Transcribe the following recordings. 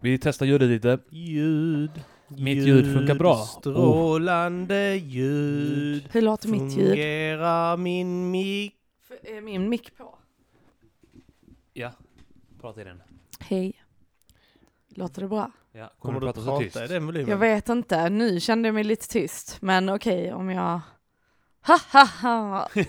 Vi testar ljudet lite. Ljud. Mitt ljud funkar bra. Oh. Strålande ljud. Hur låter mitt ljud? Fungerar min mick. F- Är min mick på? Ja. Prata i den. Hej. Låter det bra? Ja. Kommer du att så prata tyst? i den volymen? Jag vet inte, nu kände jag mig lite tyst. Men okej om jag... Ha ha ha!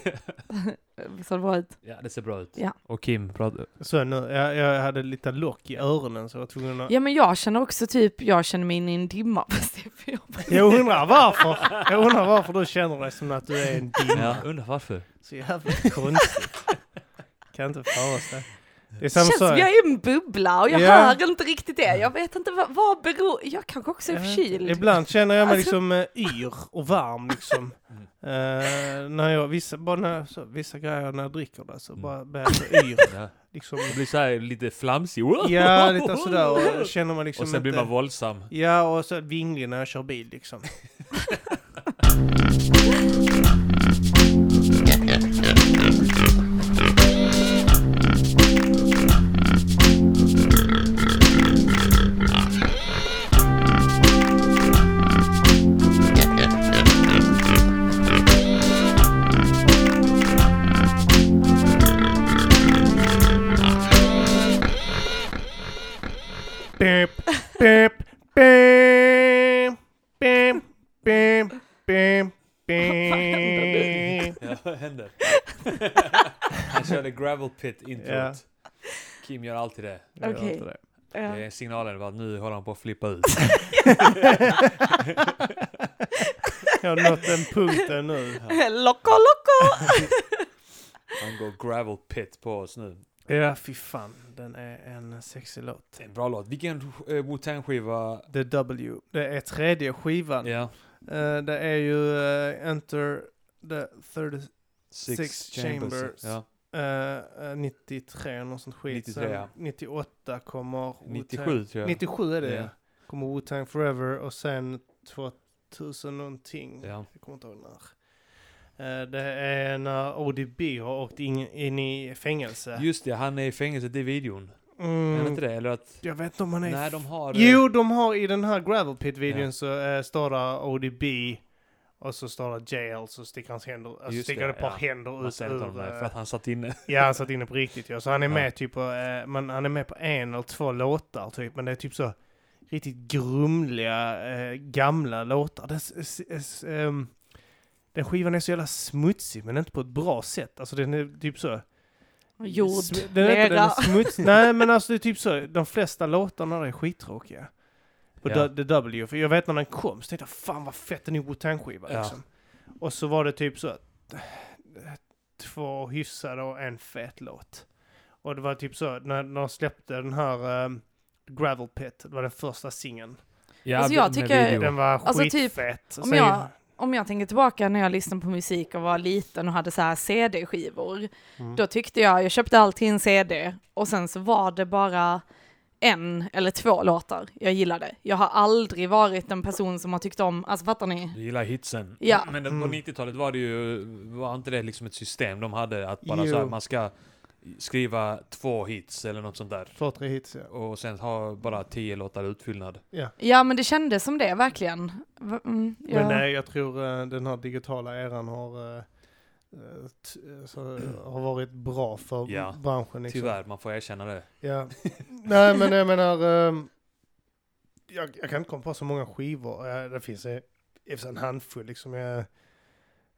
Så det bra ut. Ja, det ser bra ut. Ja. Och Kim pratar. Så nu, jag, jag hade lite lock i öronen så jag var tvungen att... Ja men jag känner också typ, jag känner mig inne i en dimma. Fast det är för jobbigt. Jag undrar varför. Jag undrar varför du känner dig som att du är en dimma. Ja, undrar varför. Så jävla konstigt. Kan inte föreställa. Det är samma Känns som sak. jag är i en bubbla och jag Ja. hör inte riktigt det. Jag vet inte vad, vad beror... Jag kanske också är Jag vet förkyld. inte. Ibland känner jag mig Alltså- liksom eh, yr och varm liksom. Eh, när jag, vissa, bara när, så, vissa grejer när jag dricker det så bara blir jag så yr. Ja. Liksom. Jag blir så här lite flamsig. Ja, lite sådär och jag känner mig liksom Och sen blir inte- man våldsam. Ja, och så vinglig när jag kör bil liksom. Bip, bip, bim, bim, bim, bim, bim. Ja, vad händer? Han körde gravel pit introt. Ja. Kim gör alltid det. Jag gör Okej. inte det. Det Ja. är signalen på att nu håller han på att flippa ut. Jag har nått den punkten nu. Loco loco! Han går gravel pit på oss nu. Ja, fy fan. Den är en sexig låt. Det är en bra låt. Vilken eh, Wu-Tang-skiva? The W. Det är tredje skivan. Ja. Eh, det är ju eh, Enter the Third... Six, Six Chambers. Chambers. Ja. eh, eh, 93, något sånt skit. 93, Sen ja. 98 kommer... Wu-Tang- 97 tror jag. 97 är det, Ja. ja. Kommer Wu-Tang Forever och sen 2000 någonting. Ja. Jag kommer inte ihåg när. Eh, Det är när ODB har åkt in, in i fängelse. Just det, han är i fängelset i videon. Är det Mm, inte det? Eller att... jag vet inte om han är... Nej, de har... eh, Jo, de har i den här Gravel Pit-videon Ja. så eh, står det ODB och så står det jail så sticker hans händer, alltså Just sticker det, det, ett par ja. händer Man ut ser inte honom ur... där, för att eh, han satt inne. Ja, han satt inne på riktigt ja. Så han är Ja. med typ på, eh, men han är med på en eller två låtar typ, men det är typ så riktigt grumliga eh, gamla låtar. Det, s- s- s- ehm, den skivan är så jävla smutsig men inte på ett bra sätt. Alltså den är typ så... Jord, Sm- den är inte den är lera. smutsig. Nej, men alltså det är typ så. De flesta låtarna där är skittråkiga. På Ja. The W. För jag vet när den kom så tänkte jag fan vad fett en Wu-Tang-skiva Ja. liksom. Och så var det typ så att två hyfsade och en fet låt. Och det var typ så när när de släppte den här ehm, Gravel Pit, det var den första singeln. Ja, Alltså, jag med tycker- video. Den var Alltså, typ, skitfet. om Sen- jag- Om jag tänker tillbaka när jag lyssnade på musik och var liten och hade så här CD-skivor, Mm. då tyckte jag, jag köpte alltid en CD och sen så var det bara en eller två låtar jag gillade. Jag har aldrig varit en person som har tyckt om, alltså fattar ni? Du gillar hitsen. Ja. Men på Mm. 90-talet var det ju, var inte det liksom ett system de hade? Att bara Jo. så här, man ska skriva två hits eller något sånt där. Två, tre hits ja. Och sen ha bara tio låtar utfyllnad. Ja, men det kändes som det verkligen. Va- Mm, Men ja. nej, jag tror eh, den här digitala eran har, eh, eh, t- eh, så, eh, har varit bra för Ja, branschen. Liksom. Tyvärr, man får erkänna det. Ja. nej, men jag menar, ehm, jag, jag kan inte komma på så många skivor. Eh, Det finns eh, i och för sig en handfull. Liksom, jag,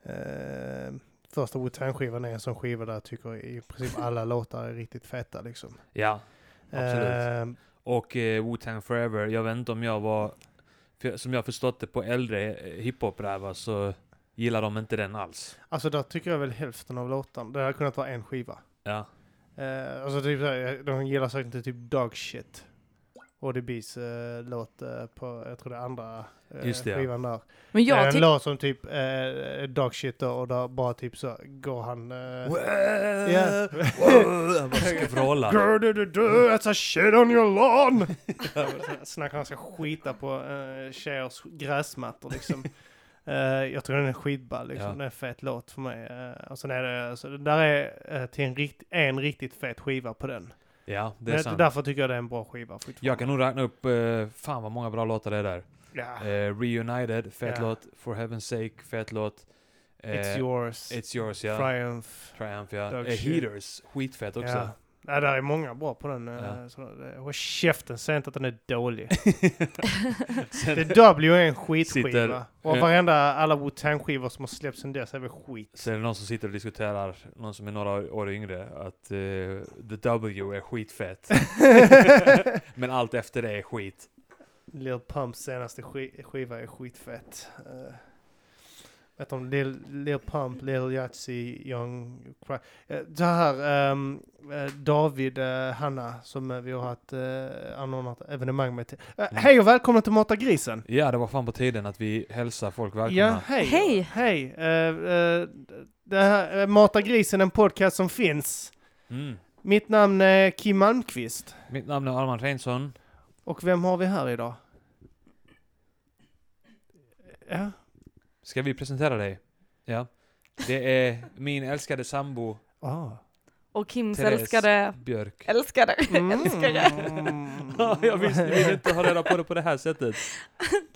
eh, första Wu-Tang-skivan är en sån skiva där jag tycker i princip alla låtar är riktigt feta. Liksom. Ja. Absolut. Ehm, Och eh, Wu-Tang Forever, jag vet inte om jag var... För, som jag förstått det på äldre eh, hiphop-rävar så gillar de inte den alls. alltså där tycker jag väl hälften av låtarna, det hade kunnat vara en skiva. Ja. Eh, alltså typ såhär, de gillar säkert inte typ Dog Shit. ODBs eh, låt eh, på, jag tror det är andra eh, Just det, ja. skivan där. Men det är jag en tyckte... låt som typ eh, Dog Shit då, och där bara typ så går han... Eh, Yeah. Han bara ska vråla. Girl, do, do, do, that's a shit on your lawn! Snackar han ska skita på eh, tjejers gräsmattor liksom. Eh, jag tror den är skitball, liksom. Ja. den är en fet låt alltså, för mig. Eh, och sen är det, så det där är eh, till en, rikt, en riktigt fet skiva på den. Ja, det är Men sant. därför tycker jag det är en bra skiva. fortfarande. Jag kan nog räkna upp, eh, fan vad många bra låtar det är där. Ja. Eh, Reunited, fet Ah. Ja. låt. For Heaven's Sake, fet låt. Eh, It's yours, It's yours, ja. Triumph. Triumph, ja. Dog Eh, shit. Heaters, skitfett också. Ja. Nej, där är många bra på den. Ja. Ja. Så, eh, håll käften, säg inte att den är dålig. Sen The W är en skitskiva. Sitter- och Ja. varenda alla Wu-Tang-skivor som har släppts sedan dess är väl skit. så är det någon som sitter och diskuterar, någon som är några år yngre, att eh, The W är skitfett. Men allt efter det är skit. Lil Pumps senaste ski- skiva är skitfett. Eh, vet du om Lil, Lil Pump, Lil Yatzy, Young... Cry- Eh, så här, ehm, eh, David eh, Hanna som eh, vi har haft, eh, anordnat evenemang med. till- Eh, Mm. Hej och välkomna till Mata Grisen! Ja, det var fan på tiden att vi hälsar folk välkomna. Ja, hej! Hej. Hej! Eh, eh, det här, eh, Mata Grisen är en podcast som finns. Mm. Mitt namn är Kim Malmqvist. Mitt namn är Armand Reinsson. Och vem har vi här idag? Ja. Ska vi presentera dig? Ja. Det är min älskade sambo Ah. Och Kims Therese. älskade, Björk. älskade, älskade. Ja, jag visste vill Mm. inte ha reda på det på det här sättet.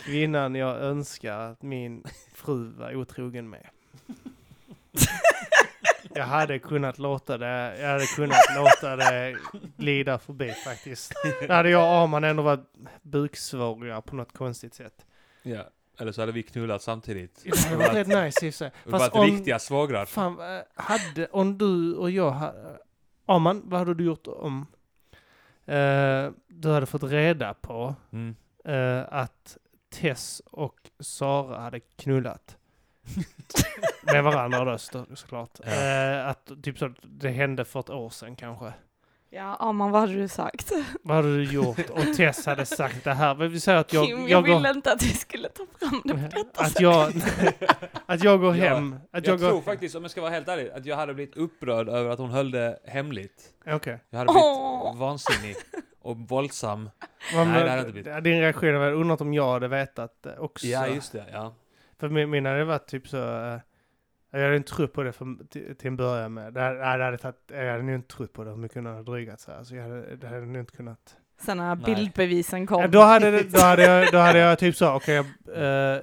Kvinnan jag önskar att min fru var otrogen med. Jag hade kunnat låta det, jag hade kunnat låta det glida förbi faktiskt. Då hade jag och Arman ändå varit buksvåriga på något konstigt sätt. Ja. Eller så hade vi knullat samtidigt. Det hade varit rätt nice i och för sig. Vi Fast varit om, riktiga svagrar. fan, eh, hade, om du och jag hade, Arman, vad hade du gjort om eh, du hade fått reda på Mm. eh, att Tess och Sara hade knullat. Med varandra då så- såklart. Ja. Eh, att typ så att det hände för ett år sedan kanske. Ja, Arman, vad hade du sagt? Vad hade du gjort? Och Tess hade sagt det här. Men vi säger att jag, Kim, jag, jag går, ville inte att vi skulle ta fram det. att jag, att jag går Ja, hem. Att Jag, jag, tror går, faktiskt, om jag ska vara helt ärlig, att jag hade blivit upprörd över att hon höll det hemligt. Okej. Jag hade blivit Åh. vansinnig och våldsam. Men- Nej, det hade inte blivit. Din reaktion var undrat om jag hade vetat det också. Ja, just det. Ja. För min, min hade varit typ så... eh, Jag hade inte trott på det för, till, till en början med. Det hade, nej, det hade tagit, jag hade nog inte trott på det hur mycket hon hade drygat sig. Alltså, jag hade, det hade jag nog inte kunnat. Sen när Nej. bildbevisen kom. Ja, då, hade, det- då, hade jag, då hade jag typ så, okej, jag, eh,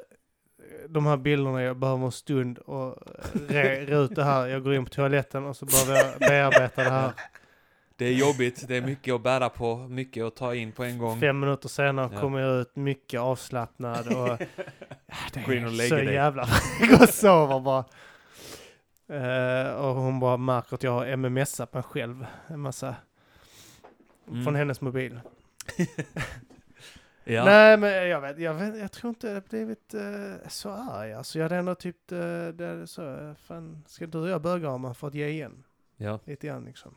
de här bilderna, jag behöver en stund och eh, re, re ut det här. Jag går in på toaletten och så behöver jag bearbeta det här. Det är jobbigt, det är mycket att bära på, mycket att ta in på en gång. Fem minuter senare Ja. kommer jag ut mycket avslappnad och ja, det Gå in och är lägg så dig. jävla... Jag går och sover bara. Eh, och hon bara märker att jag har mmsat mig själv en massa Mm. från hennes mobil. Ja. Nej men jag vet, jag vet, jag tror inte det har blivit eh, så arg alltså. Jag hade ändå typ, eh, det är så, eh, fan ska du och jag böga om man för att ge igen? Ja. Lite grann liksom.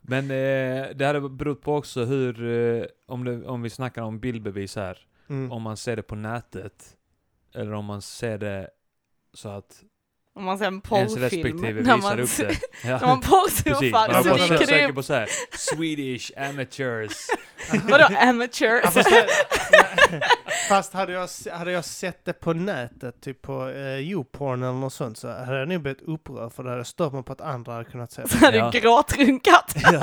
Men eh, det hade berott på också hur, eh, om, det, om vi snackar om bildbevis här, Mm. om man ser det på nätet, eller om man ser det så att Om man ser en ens porrfilm. respektive När visar man, upp det. Ja. när man Precis, porrsurfar man så bara så dyker det söker upp. på så här, Swedish amateurs. Vadå amateur? Ja, fast, nej, fast hade, jag, se- hade jag sett det på nätet, typ på eh, YouPorn eller något sånt, så hade jag nog blivit upprörd för det hade stört mig på att andra hade kunnat se Så hade Ja. du gråtrunkat. det.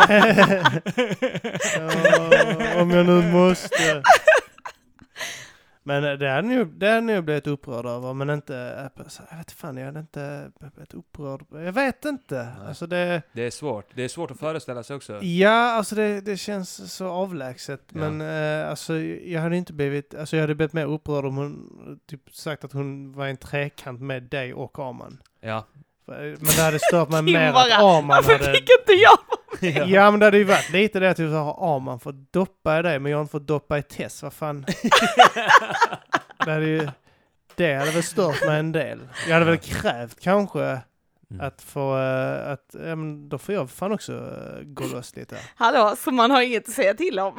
Ja, om jag nu måste. Men eh, det hade nog- det hade jag nog blivit upprörd över, men inte, eh, så- jag vet fan, jag hade inte blivit upprörd. Jag vet inte. Nej. Alltså det, Det är svårt, det är svårt att föreställa sig också. ja, alltså det, det känns så avlägset, Ja. men eh, alltså jag hade inte blivit, alltså jag hade blivit mer upprörd om hon typ sagt att hon var i en trekant med dig och Arman. Eh, Ja. Men det hade stört mig Kim mer att bara, Arman Varför hade fick inte jag? Ja men det hade ju varit lite det att du sa Arman får doppa i dig men jag har inte fått doppa i Tess, vad fan. det hade ju, det hade väl stört mig en del. Jag hade väl krävt kanske Mm. att få, eh, att, ja men då får jag fan också eh, gå loss lite. Hallå, så man har inget att säga till om.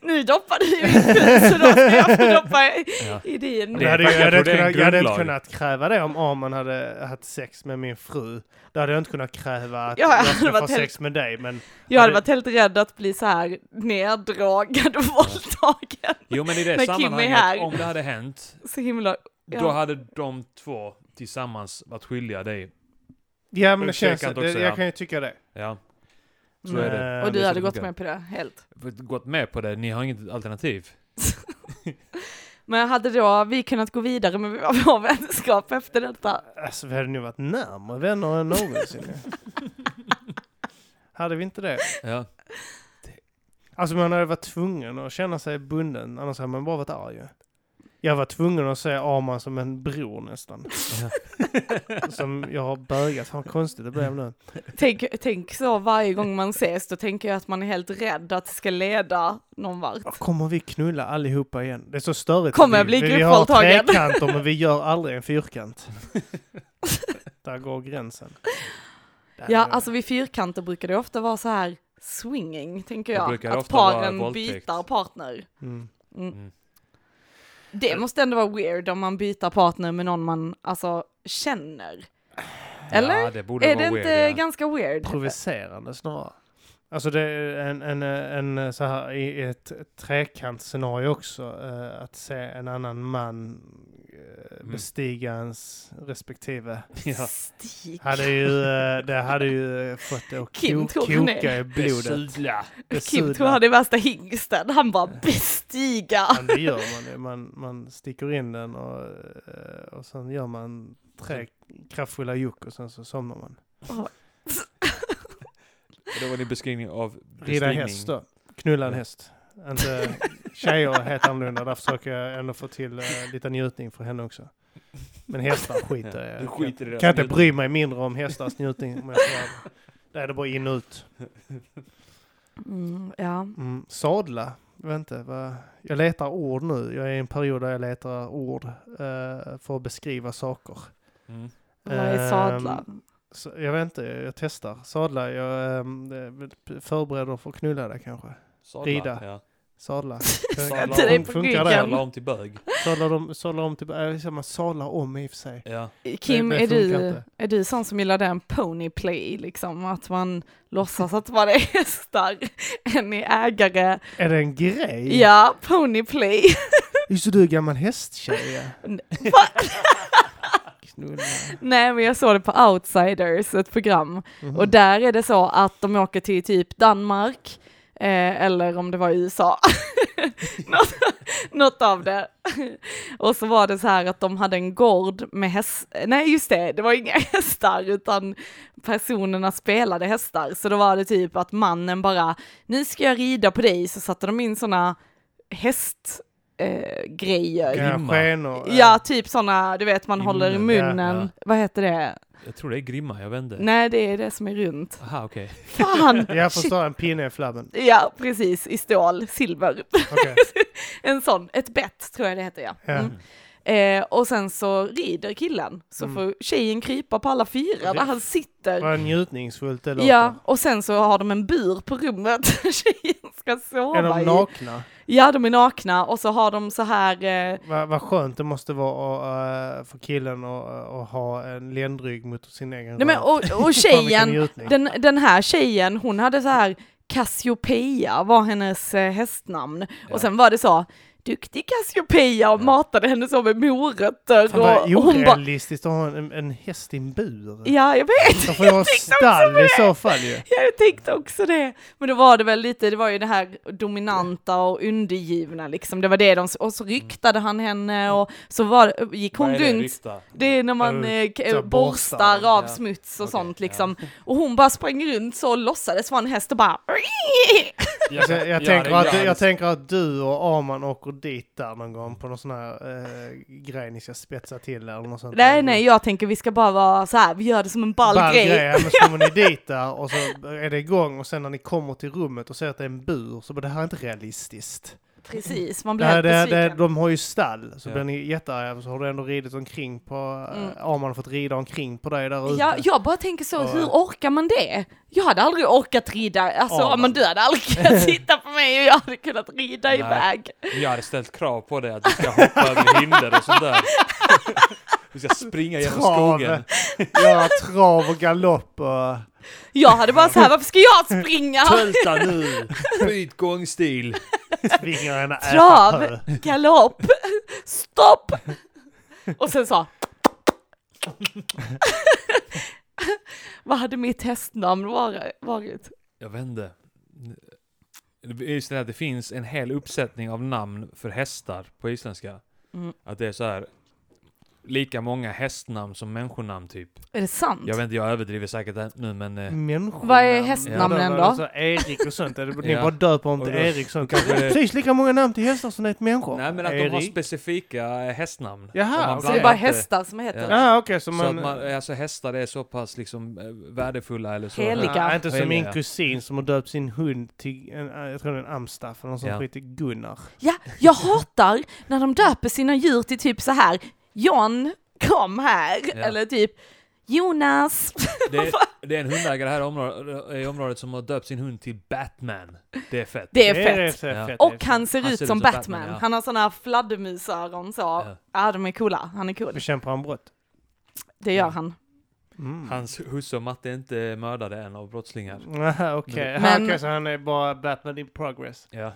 nu doppar du i mitt hus så då ska jag få doppa i, Ja. i Det din. är Jag hade, ju- jag, faktiskt- hade jag tror inte det är en kunnat, jag hade inte grundlag. kunnat kräva det om Arman hade haft sex med min fru. Då hade jag inte kunnat kräva att Ja, jag jag hade skulle få varit helt- sex med dig. Men Jag hade Ja, varit helt rädd att bli så här neddragad och våldtagen. Jo men i När det Kim är sammanhanget, här. om det hade hänt, Så himla... då Ja. hade de två tillsammans varit skyldiga dig. ja men det Ursäkta känns, inte det, också, ja. jag kan ju tycka det. Ja. Så är det. Eh, det är Och du så hade det gått funkar. med på det helt. För att Gått med på det, ni har inget alternativ. Men hade då vi kunnat gå vidare med vår vänskap efter detta? Alltså vi hade nu varit närmare vänner än någonsin. ju. hade vi inte det? Ja. Alltså man hade varit tvungen att känna sig bunden, annars hade man bara varit arg ju. Jag var tvungen att se Arman som en bror nästan. som jag har bögat. Fan vad konstigt det blev nu. Tänk, tänk så varje gång man ses, då tänker jag att man är helt rädd att det ska leda någon vart. Kommer vi knulla allihopa igen? Det är så störigt. Kommer Vi- jag bli vi, vi har gruppvåldtagen? trekanter men vi gör aldrig en fyrkant. Där går gränsen. Där Ja, Eh. är- alltså vid fyrkanter brukar det ofta vara så här swinging, tänker Det jag. brukar Att ofta vara paren våldtäkt. byter partner. Mm. Mm. Det måste ändå vara weird om man byter partner med någon man alltså känner. Eller? Ja, det borde är vara det inte weird, ja. ganska weird? Provocerande snarare. Alltså det är en, en, en eh, så här i ett trekantscenario också. eh, att se en annan man eh, Mm. bestiga ens respektive. Ja. Stig. Hade ju, eh, det hade ju eh, fått det att Kim ko- tog koka ner. i blodet. Kim tror Besudla. han är värsta hingsten. Han bara bestiga. Men det gör man ju. Man, man sticker in den och, eh, och sen gör man tre kraftfulla juck och sen så somnar man. Det var din beskrivning av Rida bestigning. häst då. Knulla en häst. Inte, tjejer är helt annorlunda. Där försöker jag ändå få till eh, lite njutning för henne också. Men hästar skiter jag Du i. skiter i det. eh, Kan, kan jag inte bry mig mindre om hästars njutning. Om jag får vara- Där är det bara in och ut. Mm, ja. Mm, sadla. Vänta, vad? Jag letar ord nu. Jag är i en period där jag letar ord eh, för att beskriva saker. Mm. Vad är sadla? Så, jag vet inte, jag, jag testar. Sadla, jag ehm, eh, förbereder för att knulla där kanske. Sadla, Rida. Ja. Sadla. Sadla Kan- om. Till dig på Funkar ryggen. det? Sadla om till bög. Sadlar de, sadlar om till, äh, man sadlar om i och för sig. Ja. Kim, det är, funkar du, inte. är du sån som gillar den pony play, liksom? Att man låtsas att man är hästar, en är ägare. Är det en grej? Ja, pony play. Just det, du är gammal hästtjej. ja. N- Knulla. Nej, men jag såg det på Outsiders, ett program. Mhm. Och där är det så att de åker till typ Danmark, eh, eller om det var USA. något, något av det. Och så var det så här att de hade en gård med hästar. Nej, just det, det var inga hästar, utan personerna spelade hästar. Så då var det typ att mannen bara, nu ska jag rida på dig, så satte de in sådana häst... Eh, grejer. Gamla Grimma. skenor. eh, Ja, typ sådana, du vet man I håller i munnen, ja, munnen. ja. Vad heter det? Jag tror det är grimma, jag vände. Nej, det är det som är runt. Aha, okej. Fan! eh, Jag Shit. förstår, en pinne i flabben. Ja, precis. I stål, silver. Okej. En sån, ett bett tror jag det heter, ja. Ja. Mm. Mm. Eh, och sen så rider killen, så Mm. får tjejen krypa på alla fyra där han sitter. Vad njutningsfullt det låter. Ja, och sen så har de en bur på rummet tjejen ska Är sova de i. nakna? Ja, de är nakna och så har de så här, eh, Vad vad skönt det måste vara att, eh, för killen att eh, att ha en ländrygg mot sin egen nej men röv. och, och Fan, vilken tjejen, njutning. Den, den här tjejen, hon hade så här Cassiopeia var hennes eh, hästnamn. Ja. Och sen var det så, duktig Cassiopeia och Ja. matade henne så med morötter. Fan vad Och, och hon bara, orealistiskt att ha en, en häst i en bur. ja jag vet, Då får jag ha stall i så fall ju. jag tänkte också det. Men då var det väl lite, det var ju det här dominanta och undergivna liksom, det var det de, och så ryktade han Mm. henne och så var, gick hon Vad är det, runt. rykta? Det är när man Ja, eh, k- ta borstar, borstar av ja. smuts och Okej, sånt ja. liksom. Och hon bara sprang runt så och låtsades vara en häst och bara Alltså, jag, Ja, det tänker gör att, det. jag tänker att du och Arman åker dit där någon gång på någon sån här eh, grej ni ska spetsa till eller något sånt. Nej, nej, jag tänker vi ska bara vara så här, vi gör det som en ball, grej. Ja, men så kommer ni dit där och så är det igång och sen när ni kommer till rummet och ser att det är en bur så bara det här är inte realistiskt. Precis, Det man blir här, helt det, det, besviken. de har ju stall så Ja. blir ni jättearga så har du ändå ridit omkring på, Mm. eh, Arman har fått rida omkring på dig där ute. Ja, jag bara tänker så, Ja. hur orkar man det? Jag hade aldrig orkat rida, alltså Ja. ja, men du hade aldrig kunnat sitta på mig och jag hade kunnat rida Nej. iväg. Jag hade ställt krav på dig att du ska hoppa över hinder och sånt där. Du ska springa genom Trav. skogen. Göra trav och galopp och... Jag hade bara så här, varför ska jag springa? Tölta nu! Byt gångstil! tvingar henne att Trav. äta hö. Galopp! Stopp! Och sen så... Vad hade mitt hästnamn vara- varit? jag vet inte. Det är Just det här, det finns en hel uppsättning av namn för hästar på isländska. Mm. Att det är så här lika många hästnamn som människonamn typ. Är det sant? Jag vet inte, jag överdriver säkert det här nu men... Mm. eh, Människonamn. Vad är hästnamnen Ja, då? alltså Erik och sånt. är det- Ni Ja. bara döper om Och till då- Erik sånt. kanske det- Precis lika många namn till hästar som det är till människor. Nej men att de har specifika eh, hästnamn. Jaha, Och man okej. Så det blandar är bara inte- hästar som heter Ja. det? Ja, okej. så Så att man... man, alltså hästar är så pass liksom eh, värdefulla eller så. Heliga. Ja, inte som min Heliga. kusin som har döpt sin hund till, en, eh, jag tror det är en amstaff eller någon sån Ja. skit, till Gunnar. Ja, jag hatar när de döper sina djur till typ så här John, kom här! Ja. Eller typ Jonas. Det är, det är en hundägare här i området, i området som har döpt sin hund till Batman. Det är fett. Det är fett. så Ja. fett, det är Och så. han ser Han ut som, Batman. ja. Han har såna här fladdermusöron så. Ja. de är coola. Han är cool. Bekämpar han brott? Det gör Ja. han. Mm. Hans husse och matte är inte mördade än av brottslingar. Mm. Aha, okej. Men- Men... så han är bara Batman in progress. Ja.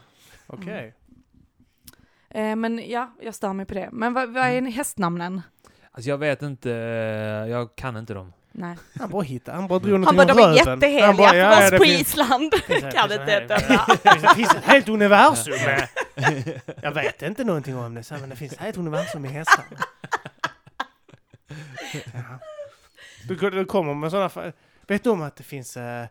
Okej. Mm. Eh, men ja, jag stör mig på det. Men vad, vad är Mm. hästnamnen? Alltså jag vet inte, eh, jag kan inte dem. Nej. Han bara hittade, han bara drog Han bara, de någonting är ur röven. jätteheliga Han för bara, ja, ja, oss det på finns- Island. finns här, kan finns inte här. heta. Det finns ett helt universum. med- Jag vet inte någonting om det, så här, men det finns ett helt universum med hästar. Ja. Du, du kommer med sådana... fa- Vet du om att det finns eh, eh,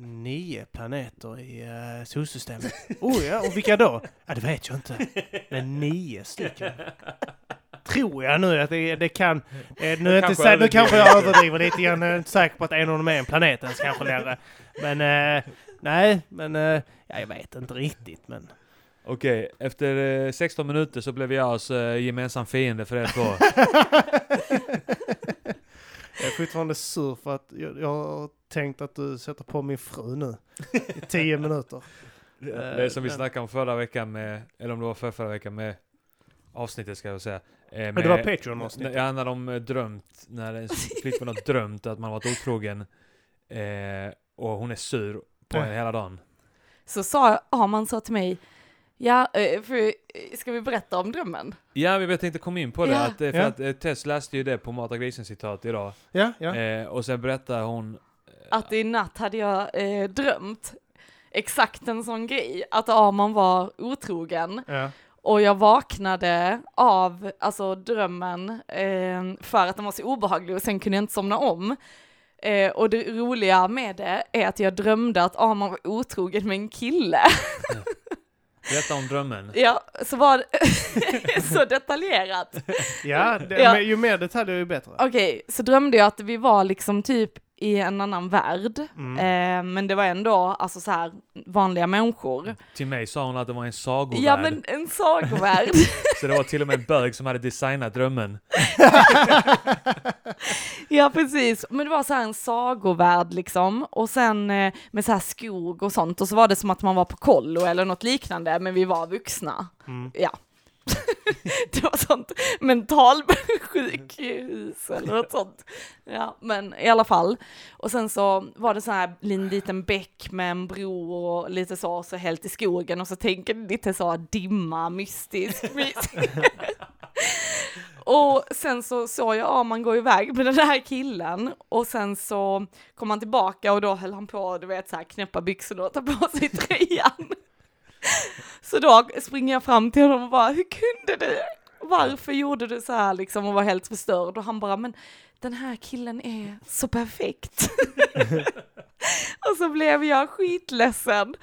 nio planeter i eh, solsystemet? Oh ja, och vilka då? Ja, det vet jag inte. Men nio stycken. Tror jag nu att det, det kan... eh, Nu, är jag inte kanske säker, nu överdriver kanske jag överdriver lite grann. Jag är inte säker på att en av dem är en planet ens kanske längre. Men eh, nej, men eh, ja, jag vet inte riktigt. Men Okej, efter eh, 16 minuter så blev jag alltså eh, gemensam fiende för er två. Jag är fortfarande sur för att jag, jag har tänkt att du sätter på min fru nu i tio minuter. Det är som vi men- snackade om förra veckan med, eller om det var för förra veckan med avsnittet ska jag säga. Eh, Men med- det var Patreon-avsnittet. Ja, när de eh, drömt, när en flickvän har drömt att man varit otrogen eh, och hon är sur på Ja. en hela dagen. Så sa Arman sa till mig, ja, eh, för, eh, ska vi berätta om drömmen? Ja, men jag tänkte komma in på det, Ja. att, eh, för Ja. att eh, Tess läste ju det på Mata Grisen-citat idag. Ja, ja. Eh, och sen berättar hon... Att i natt hade jag eh, drömt exakt en sån grej, att Arman var otrogen ja. och jag vaknade av alltså, drömmen eh, för att den var så obehaglig och sen kunde jag inte somna om. Eh, och det roliga med det är att jag drömde att Arman var otrogen med en kille. Berätta om drömmen. ja, så var det så detaljerat. ja, det, Ja. Men ju mer detaljer ju bättre. Okej, så drömde jag att vi var liksom typ i en annan värld, Mm. eh, men det var ändå alltså så här vanliga människor. Till mig sa hon att det var en sagovärld. Ja men en sagovärld. Så det var till och med en bög som hade designat drömmen. ja precis, men det var så här en sagovärld liksom och sen eh, med så här skog och sånt och så var det som att man var på kollo eller något liknande men vi var vuxna. Mm. Ja. det var sånt mentalsjukhus eller något sånt. Ja, men i alla fall. Och sen så var det så här en liten bäck med en bro och lite så, så helt i skogen och så tänker det lite så dimma, mystisk, mysig. Och sen så såg jag Arman gå iväg med den här killen och sen så kom han tillbaka och då höll han på, du vet så här knäppa byxorna och ta på sig tröjan. Så då springer jag fram till honom och bara, hur kunde du? Varför gjorde du så här liksom och var helt förstörd? Och han bara, men den här killen är så perfekt. och så blev jag skitledsen.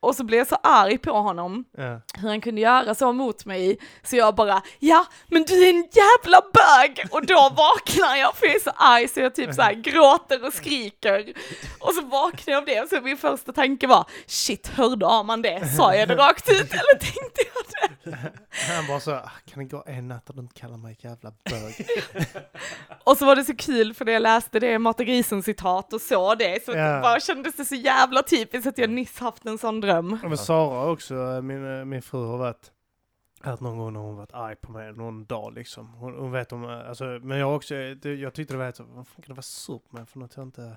Och så blev jag så arg på honom, Ja. hur han kunde göra så mot mig. Så jag bara, ja, men du är en jävla bög! Och då vaknar jag för jag är så arg så jag typ så här gråter och skriker. Och så vaknade jag av det, så min första tanke var, shit, hörde Arman det? Sa jag det rakt ut eller tänkte jag det? Han bara så, "Ah, kan det gå en natt och du inte kallar mig jävla bög? Och så var det så kul för när jag läste det Mata Grisen-citat och såg det så Ja. bara kändes det så jävla typiskt att jag nyss haft en sån dröm. Ja, Men Sara också, eh, min, eh, min fru har varit att någon gång när hon varit arg på mig någon dag liksom. Hon, hon vet om, eh, alltså, men jag också, eh, det, jag tyckte det var helt så, vad fan kan det vara sur på mig för något jag inte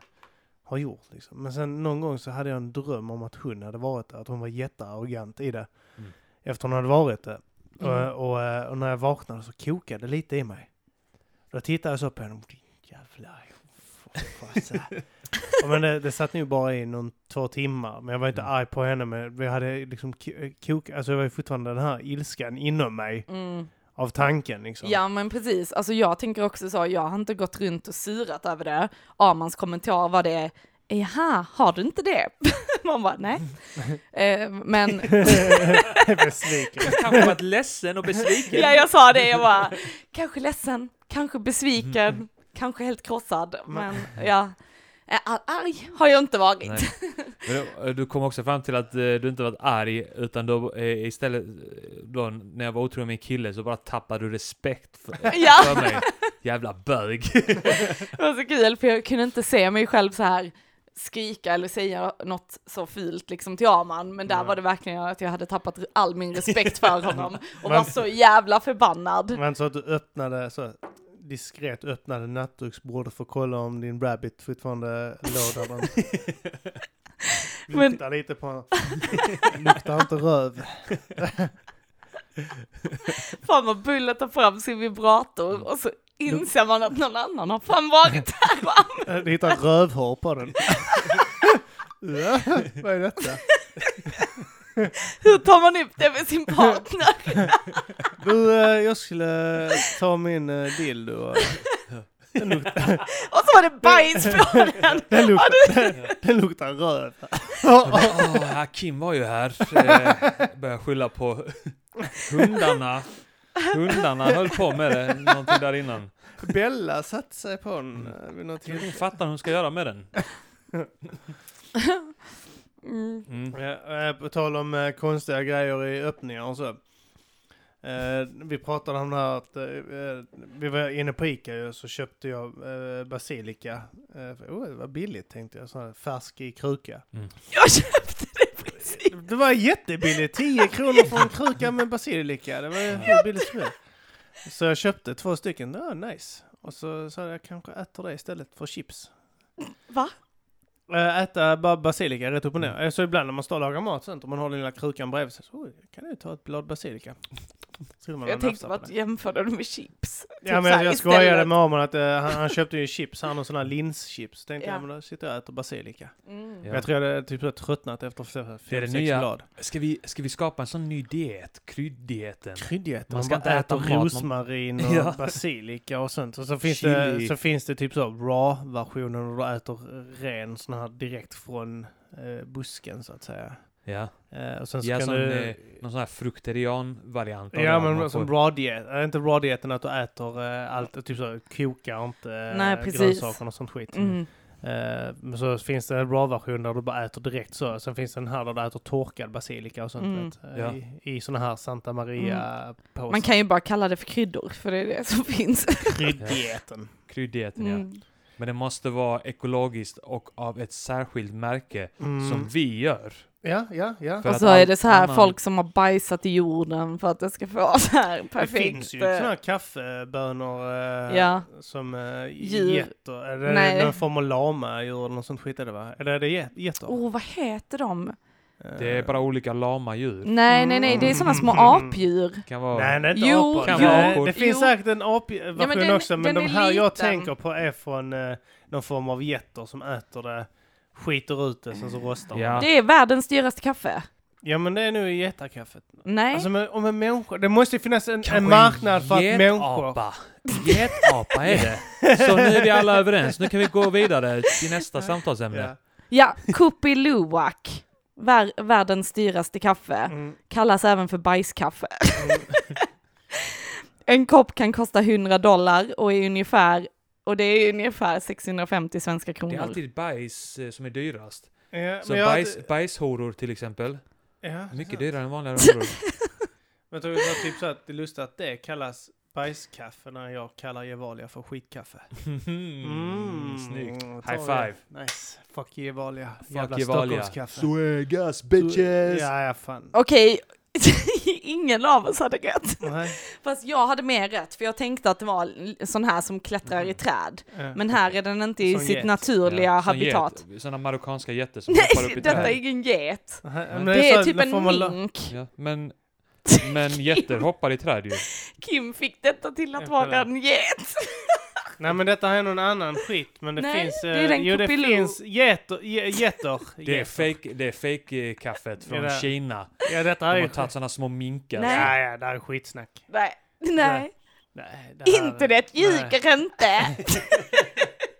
har gjort liksom. Men sen någon gång så hade jag en dröm om att hon hade varit där, att hon var jättearrogant i det. Mm. Efter hon hade varit det. Mm. Och, och, eh, och när jag vaknade så kokade det lite i mig. Då tittade jag så på henne, din jävla Fasen. Ja, men det, det satt nu bara i någon två timmar, men jag var inte Mm. arg på henne, men jag hade liksom k- kok, alltså jag var ju fortfarande den här ilskan inom mig Mm. av tanken liksom. Ja men precis, alltså jag tänker också så, jag har inte gått runt och surat över det. Amans kommentar var det, jaha, har du inte det? Man bara, nej. eh, men Besviken. Kanske varit ledsen och besviken. ja, jag sa det, jag bara, kanske ledsen, kanske besviken, kanske helt krossad, men ja. Eh, ar- Arg har jag inte varit. Nej. Men då, eh, Du kom också fram till att eh, du inte varit arg, utan då, eh, istället eh, då, när jag var otrogen med min kille så bara tappade du respekt för, eh, Ja. för mig. Jävla bög. Det var så kul, för jag kunde inte se mig själv så här skrika eller säga något så fult liksom till Arman, men där Nej. var det verkligen att jag hade tappat all min respekt för honom och Men- var så jävla förbannad. Men så att du öppnade, så diskret öppnade nattduksbordet för att kolla om din rabbit fortfarande låg där den Men- luktar lite på honom. Luktar inte röv. Fan vad Bulle tar fram sin vibrator och så inser man att någon annan har fan varit här och använt Du Eh, hittar rövhår på den. Ja, vad är detta? Hur tar man upp det med sin partner? Du, eh, jag skulle ta min eh, dildo. och- Den luktar, Och så var det bajs på den! den luktar, den luktar röv. Jag bara, "Åh, Hakim var ju här. Eh, Började skylla på hundarna. Hundarna höll på med det, någonting där innan. Bella satte sig på den eh, vid något Hon tillfälle. fattar hur hon ska göra med den. Mm. Mm. Eh, eh, På tal om eh, konstiga grejer i öppningar och så. Eh, vi pratade om det här att eh, eh, vi var inne på Ica ju, så köpte jag eh, basilika. Eh, för- oh, det var billigt tänkte jag, sån här färsk i kruka. Jag köpte det precis! Det var jättebilligt, 10 kronor för en kruka med basilika. Det var ju hur billigt som helst. Så jag köpte två stycken, det var nice. Och så sa jag, jag kanske äter det istället för chips. Va? Eh, Äta bara basilika rätt upp och ner. Eh, Så ibland när man står och lagar mat sånt, om man har den lilla krukan bredvid sig, så "Oj, kan jag ju ta ett blad basilika. Så man Jag tänkte nafsar på bara att det. jämförde det med chips. Ja så men här jag istället. skojade med Amon att eh, han, han köpte ju chips, han har sådana här linschips. Så tänkte Ja. jag, men då sitter jag och äter basilika. Mm. Ja. Men jag tror jag hade typ så här tröttnat efter fem, Det är det sex nya. blad. Ska, vi, ska vi skapa en sån ny diet? Krydddieten? Kryddjätte, Man man ska bara inte äter äta mat, man- rosmarin och Ja. basilika och sånt. Och så finns, Chili. det, så finns det typ så raw-versionen och du äter ren sån här direkt från eh, busken så att säga. Ja, Eh, och sen så ja kan som, du... eh, någon sån här frukterian-variant. av Ja det, man men som får- raw-diet, äh, inte raw-dieten att du äter eh, allt, typ så kokar inte eh, Nej, precis. grönsaker och sånt skit. Mm. Eh, men så finns det en raw-version där du bara äter direkt så. Sen finns det en här där du äter torkad basilika och sånt Mm. vet, eh, Ja. i, i såna här Santa Maria-påsar. Man kan ju bara kalla det för kryddor, för det är det som finns. Krydddieten. Krydddieten, ja. Mm. Men det måste vara ekologiskt och av ett särskilt märke Mm. som vi gör. Ja, ja, ja. För Och att så är all det så här annan- folk som har bajsat i jorden för att det ska få så här perfekt. eh, Det finns ju sådana här kaffebönor eh, Ja. som eh, Djur. getter. Eller Nej. någon form av lamadjur eller något sånt skit är det va? Eller är det get- getter? Åh, vad heter de? Det är Eh, bara olika lama djur. Nej, nej, nej, det är sådana Mm. små apdjur. Kan vara... Nej, det är inte Jo, apor. Kan Nej, vara apor. Det finns Jo. säkert en Ja, apversion men den- också, men den de är här jag liten. tänker på är från eh, någon form av getter som äter det, skiter ut det, sen så rostar de. Ja. Det är världens dyraste kaffe. ja, men det är nog i getakaffet. Nej, Alltså men om en människa, det måste ju finnas en, Kanske en marknad för att getapa. människor... Getapa är det. Så nu är vi alla överens. Nu kan vi gå vidare till nästa samtalsämne. Ja. ja, Kupi Luwak. Vär, världens dyraste kaffe. Mm. Kallas även för bajskaffe. en kopp kan kosta 100 dollar och är ungefär, och det är ungefär 650 svenska kronor. Det är alltid bajs eh, som är dyrast. Ja, Så men jag hade- bajs, bajshoror till exempel. Ja, Mycket sant. dyrare än vanliga horor. Men tror du det var typ så att det är lustigt att det kallas bajskaffe när jag kallar Gevalia för skitkaffe? Mm, snyggt. Mm, High tar vi. five. Nice. Fuck Gevalia. Fuck Jävla Gevalia. Stockholmskaffe. Suegas, Ja, ja fan. Okej, ingen av oss hade rätt. Nej. Fast jag hade mer rätt, för jag tänkte att det var l- sån här som klättrar i träd. Ja. Men här är den inte i Som sitt get. naturliga Ja, som habitat. get. Såna marockanska getter som hoppar Nej, upp i detta är träd. ingen get. Nej, Det men Det så är att typ då en får man la- mink. Ja, men, men getter hoppar i träd ju. Kim fick detta till att Jag vara kollar. en get. Nej men detta är någon annan skit. Men det Nej, finns... det eh, är den jo det Copiloo. finns getter. ge- Getter. Det är getter. fake, det är fake eh, kaffet från Det där. Kina. Ja detta De är har ju... tagit sådana små minkar. Nej. Ja, ja, det här är skitsnack. Nej, nej, Nej, det här är- inte det Nej. ljuger inte.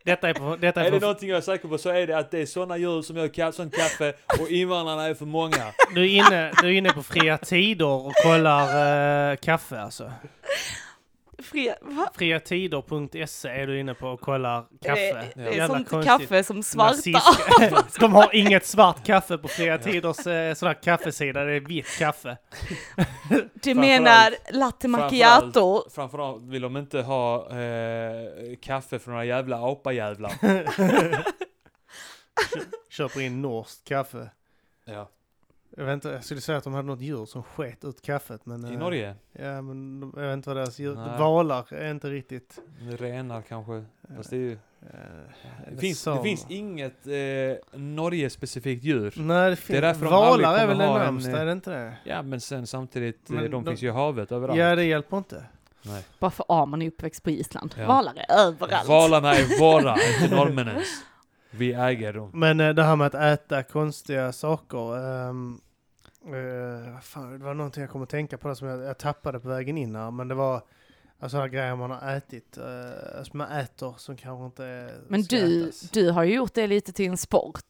Detta är på... Detta är Är det på någonting jag är säker på så är det att det är sådana djur som gör ka- sånt kaffe och invandrarna är för många. du, är inne, du är inne på fria tider och kollar eh, kaffe alltså. Fria, va? Friatider.se är du inne på och kollar kaffe. Eh, Det, det är Jävla sånt konstigt. kaffe som svarta. Nazist- De har inget svart kaffe på Fria Tiders eh, sån här kaffesida, det är vitt kaffe. Du menar latte macchiato? Framförallt vill de inte ha eh, kaffe från några jävla apajävlar. Köper in norskt kaffe. Ja. Jag vet inte, jag skulle säga att de hade något djur som sket ut kaffet men... I eh, Norge? Ja men de- jag vet inte vad deras djur... Nej. Valar är inte riktigt... Renar kanske? Fast det är ju... eh, Det finns, det samer. finns inget eh, Norge-specifikt djur. Nej det Det finns... är därför de aldrig valar kommer är väl det ha en, närmsta, eh, är det inte det? Ja men sen samtidigt, eh, Men de de- finns ju i havet överallt. Ja det hjälper inte. Bara för att man är uppväxt på Island. Ja. Valar är överallt. Valarna är våra, inte norrmännens. Vi äger dem. Men eh, det här med att äta konstiga saker. ehm, eh, vad fan, det var någonting jag kom att tänka på där som jag, jag tappade på vägen in här. Men det var alltså, här grejer man har ätit. eh, som man äter som kanske inte Men ska du, ätas. du har ju gjort det lite till en sport.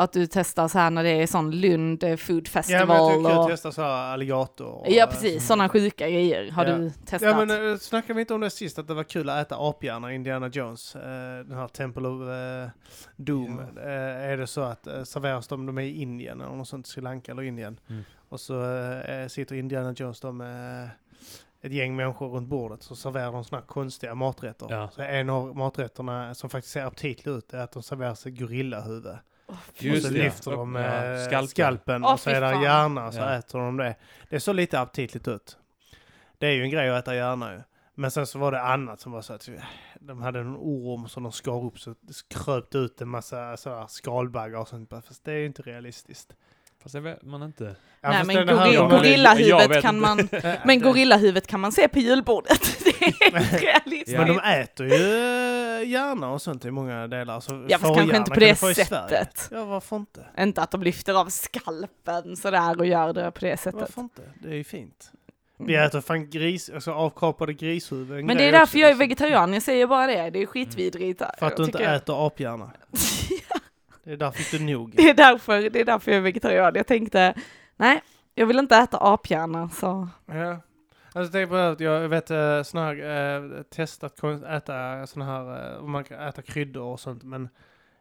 Att du testar så här när det är sån Lund eh, Food Ja men jag Festival. tycker att och... testa så här alligator. och, Ja eh, precis, sådana sjuka grejer har Ja. du testat. Ja men eh, snackade vi inte om det sist att det var kul att äta aphjärnor i Indiana Jones? eh, den här Temple of eh, Doom. Eh, är det så att eh, serveras de, de är i Indien eller något sånt, Sri Lanka eller Indien. Mm. Och så eh, sitter Indiana Jones då med eh, ett gäng människor runt bordet så serverar de sådana här konstiga maträtter. Ja. Så en av maträtterna som faktiskt ser aptitlig ut är att de serveras ett gorillahuvud. Just och så det. lyfter de Ja, eh, skalpen. skalpen, Åh, och så fy är det fan. hjärna så Ja. äter de det. Det såg lite aptitligt ut. Det är ju en grej att äta hjärna ju. Men sen så var det annat som var så att eh, de hade en orm som de skar upp så kröp det ut en massa sådär skalbaggar och sånt. Bara, Fast det är ju inte realistiskt. Fast det vet man inte. Ja, Nej fast men den här- gorilla- jag- jag gorillahuvudet vet kan inte. man... Eh, Men det- gorillahuvudet kan man se på julbordet. Det är inte realistiskt. Ja. Men de äter ju eh, hjärna och sånt i många delar. Så Ja fast kanske fårhjärna inte på kan det du få i Sverige. sättet. Ja varför inte? Inte att de lyfter av skalpen sådär och gör det på det sättet. Varför inte? Det är ju fint. Vi äter fan gris, alltså avkapade grishuvuden. Mm. liksom. Men det är därför jag är vegetarian, jag säger bara det. Det är skitvidrigt. För att du inte tycker jag. äter aphjärna. Det är därför inte nog. det, är därför, det är därför jag är vegetarian. Jag tänkte, nej, jag vill inte äta aphjärna. Så. Ja. Alltså tänk på det här att jag vet eh, sån här, eh, testat kon- äta sån här, eh, om man kan äta kryddor och sånt men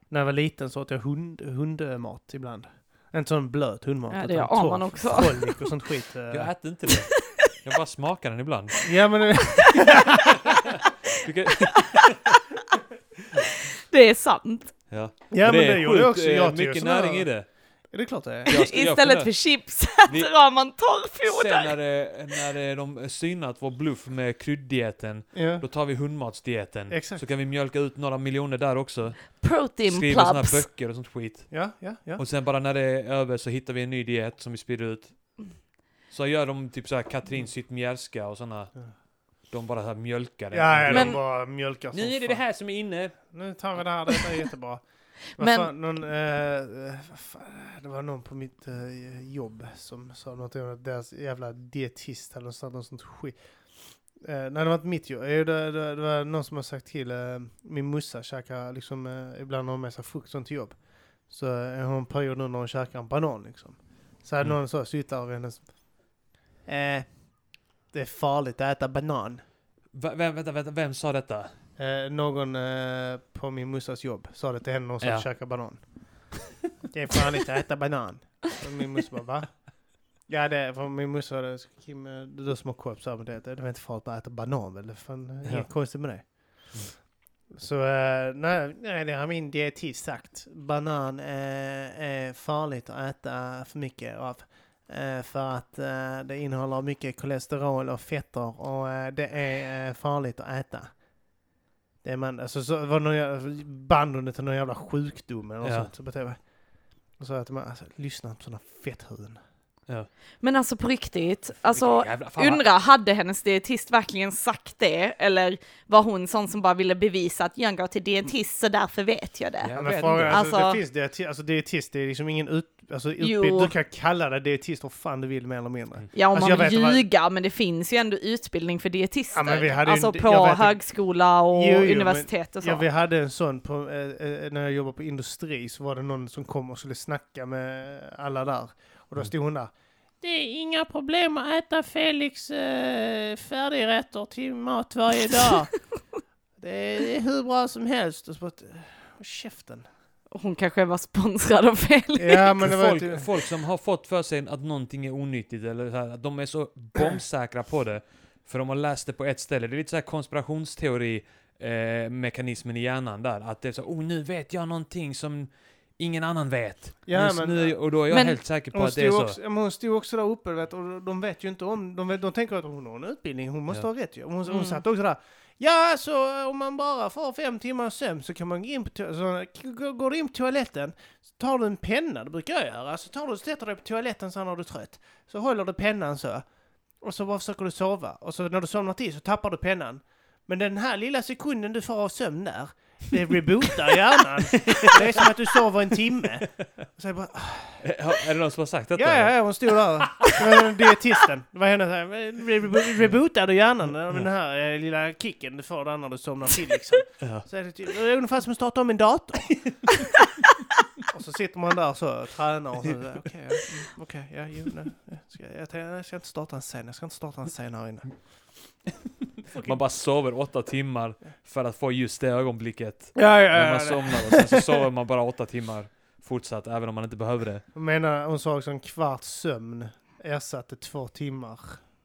när jag var liten så åt jag hund, hundmat ibland. Inte sån blöt hundmat. Ja, det utan gör man torr, också. Frolik och sånt skit. eh. Jag äter inte det. Jag bara smakar den ibland. Ja men eh, Du kan- Det är sant. Ja. ja, men är det gjorde jag sjukt, också. eh, Jag åt ju mycket sån här- näring i det. Ja, Det är klart det är. Jag skulle- jag Istället kunde- för chips Vi- äter har man Sen torrfoder. när, det, när det, de synat vår bluff med krydddieten, Ja. då tar vi hundmatsdieten. Exakt. Så kan vi mjölka ut några miljoner där också. Protein Skriva såna här plubs. böcker och sånt skit. Ja, ja, ja. Och sen bara när det är över så hittar vi en ny diet som vi sprider ut. Så gör de typ såhär Katrin Zytomierska och såna. Ja. De bara så här mjölkar det. Ja, ja, Men- de bara mjölkar som Nu är det fan. det här som är inne. Nu tar vi det här, detta är jättebra. Men... Men- Fan, någon, eh, eh, vad fan, det var någon på mitt eh, jobb som sa något om att deras jävla dietist eller något sånt, något sånt skit. Eh, nej, det var inte mitt jobb. Eh, det, det, det var någon som har sagt till, eh, min morsa käkar liksom, eh, ibland har hon med sig frukt sånt till jobb. Så eh, har hon en period nu när hon käkar en banan liksom. Så hade Mm. någon så suttit där vid hennes... Eh, det är farligt att äta banan. Va, vem, vänta, vänta, vem sa detta? Eh, någon eh, på min morsas jobb sa det till henne och sa Ja. ja. käka banan. Det är farligt att äta banan. Och min morsa bara va? Ja det är för min morsa hade Kim, eh, du som har koll på så här med det, det är väl inte farligt att äta banan väl? Det är fan, eh, Ja. Mm. inget konstigt med det. Så eh, nej, nej, det har min dietist sagt. Banan eh, är farligt att äta för mycket av. Eh, för att eh, det innehåller mycket kolesterol och fetter och eh, det är eh, farligt att äta. Det är man, alltså så var det någon jävla, band under till någon jävla sjukdom eller något Ja. sånt. Så på TV. Och så att man, alltså, lyssna på sådana fetthuvuden. Ja. Men alltså på riktigt, alltså Jävla, fan, vad- undra, hade hennes dietist verkligen sagt det? Eller var hon sån som bara ville bevisa att jag går till dietist så därför vet jag det? Jag men vet frågan, inte. alltså, Alltså- det finns dietist, alltså dietist, det är liksom ingen ut, alltså Jo. utbildning. Du kan kalla dig dietist vad fan du vill mer eller mindre. Ja, om Alltså, jag man vill vet vad- ljuga, men det finns ju ändå utbildning för dietister. Ja, men vi hade ju- alltså jag på vet inte- högskola och Jo, jo, men- universitet och så. Ja, vi hade en sån på, eh, eh, när jag jobbade på industri så var det någon som kom och skulle snacka med alla där. Och då stod hon där. Det är inga problem att äta Felix eh, färdigrätter till mat varje dag. det, är, det är hur bra som helst. Och så bara, "Åh, käften. Hon kanske var sponsrad av Felix. Ja, men det var typ- folk, inte... folk som har fått för sig att någonting är onyttigt eller så här, att de är så bombsäkra på det för de har läst det på ett ställe. Det är lite så här konspirationsteori eh, mekanismen i hjärnan där. Att det är så oh nu vet jag någonting som ingen annan vet. Ja, nu, men- nu, och då är jag Men- helt säker på Hon att det är stod, så. också, ja, men hon stod också där uppe vet, och de vet ju inte om... De, vet, de tänker att hon har en utbildning, hon måste Ja. ha rätt ju. Hon, hon Mm. satt också där. Ja, alltså om man bara får fem timmar sömn så kan man gå in på toaletten. Så, g- går du in på toaletten, så tar du en penna, det brukar jag göra. Så tar du och sätter dig på toaletten så när du är trött. Så håller du pennan så. Och så bara försöker du sova. Och så när du somnar till så tappar du pennan. Men den här lilla sekunden du får av sömn där, det rebootar hjärnan. Det är som att du sover en timme. Och så är det bara, Eh, har- Är det någon som har sagt detta? Ja, ja, ja, hon stod där. Det var Dietisten. Det var henne så här. "Re- Rebootade hjärnan av den här eh, lilla kicken du får där när du somnar till liksom. Ja. Så är det typ, det är ungefär som att starta om en dator. Och så sitter man där så och tränar och så. Okej, okay, ja, mm, okej, ja, jo, nej. Jag ska, jag, tänkte, jag ska inte starta en scen. Jag ska inte starta en scen här inne. Man bara sover åtta timmar för att få just det ögonblicket Ja, ja, när man somnar och sen så sover man bara åtta timmar fortsatt även om man inte behöver det. Hon menar, hon sa också en kvarts sömn ersatte två timmar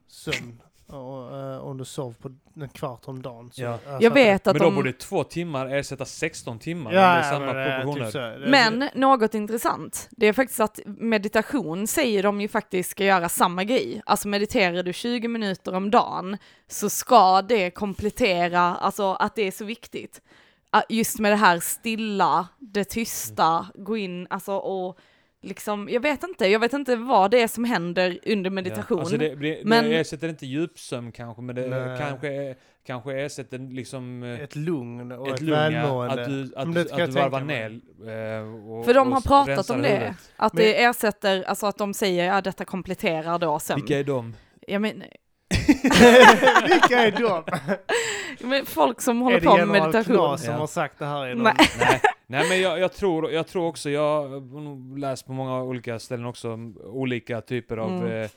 sömn. Och, eh, om du sov på en kvart om dagen. Så Ja. ersatte Jag vet att Men då de... borde två timmar ersätta 16 timmar. om det Ja, är samma men det är proportioner. typ så. Det är- Men något intressant, det är faktiskt att meditation säger de ju faktiskt ska göra samma grej. Alltså mediterar du 20 minuter om dagen så ska det komplettera, alltså att det är så viktigt. Ah, Just med det här stilla, det tysta, gå in, alltså och liksom, jag vet inte, jag vet inte vad det är som händer under meditation. Ja. Alltså det, det, Men- det ersätter inte djupsömn kanske, men det Nej. kanske, kanske ersätter liksom eh, ett, ett lugn och ett, lugn, ja. välmående. Att du, Men att, det du- att kan jag du varvar tänka mig. ner. eh, och- För de och har pratat rensar om det, huvudet. att det ersätter, alltså att de säger att ja, detta kompletterar då sömn. Vilka är de? Jag men, Vilka är de? men folk som håller är det på med general meditation. Knas som Ja. har sagt det här? Är de, Nej. Nej, nej men jag, jag, tror, jag tror också, jag har nog läst på många olika ställen också, m, olika typer av, Mm. eh,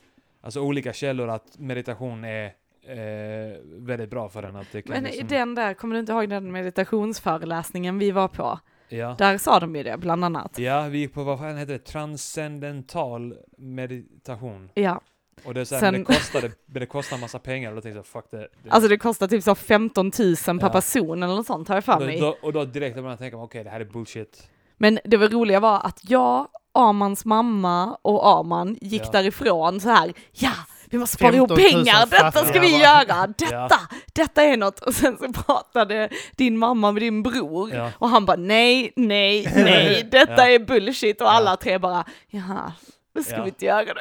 alltså olika källor att meditation är eh, väldigt bra för en. Att det kan Men i liksom, den där, kommer du inte ihåg den meditationsföreläsningen vi var på? ja. Där sa de ju det, bland annat. ja, vi gick på, vad fan heter det, transcendental meditation. Ja, Och det, är så här, Sen- men det, kostade, men det kostar massa pengar och då tänkte jag fuck det. det alltså det kostar typ så 15 000 per Ja. person eller något sånt, har jag för då, mig. då, och då direkt började jag tänka, okej det här är bullshit. Men det var roliga var att jag, Amans mamma och Aman gick Ja. därifrån så här, ja, vi måste spara ihop 15 000 pengar, detta ska fattiga. vi göra, detta, detta är något. Och sen så pratade din mamma med din bror Ja. och han bara nej, nej, nej, detta är bullshit och alla tre bara, jaha, då ska Ja. vi inte göra det.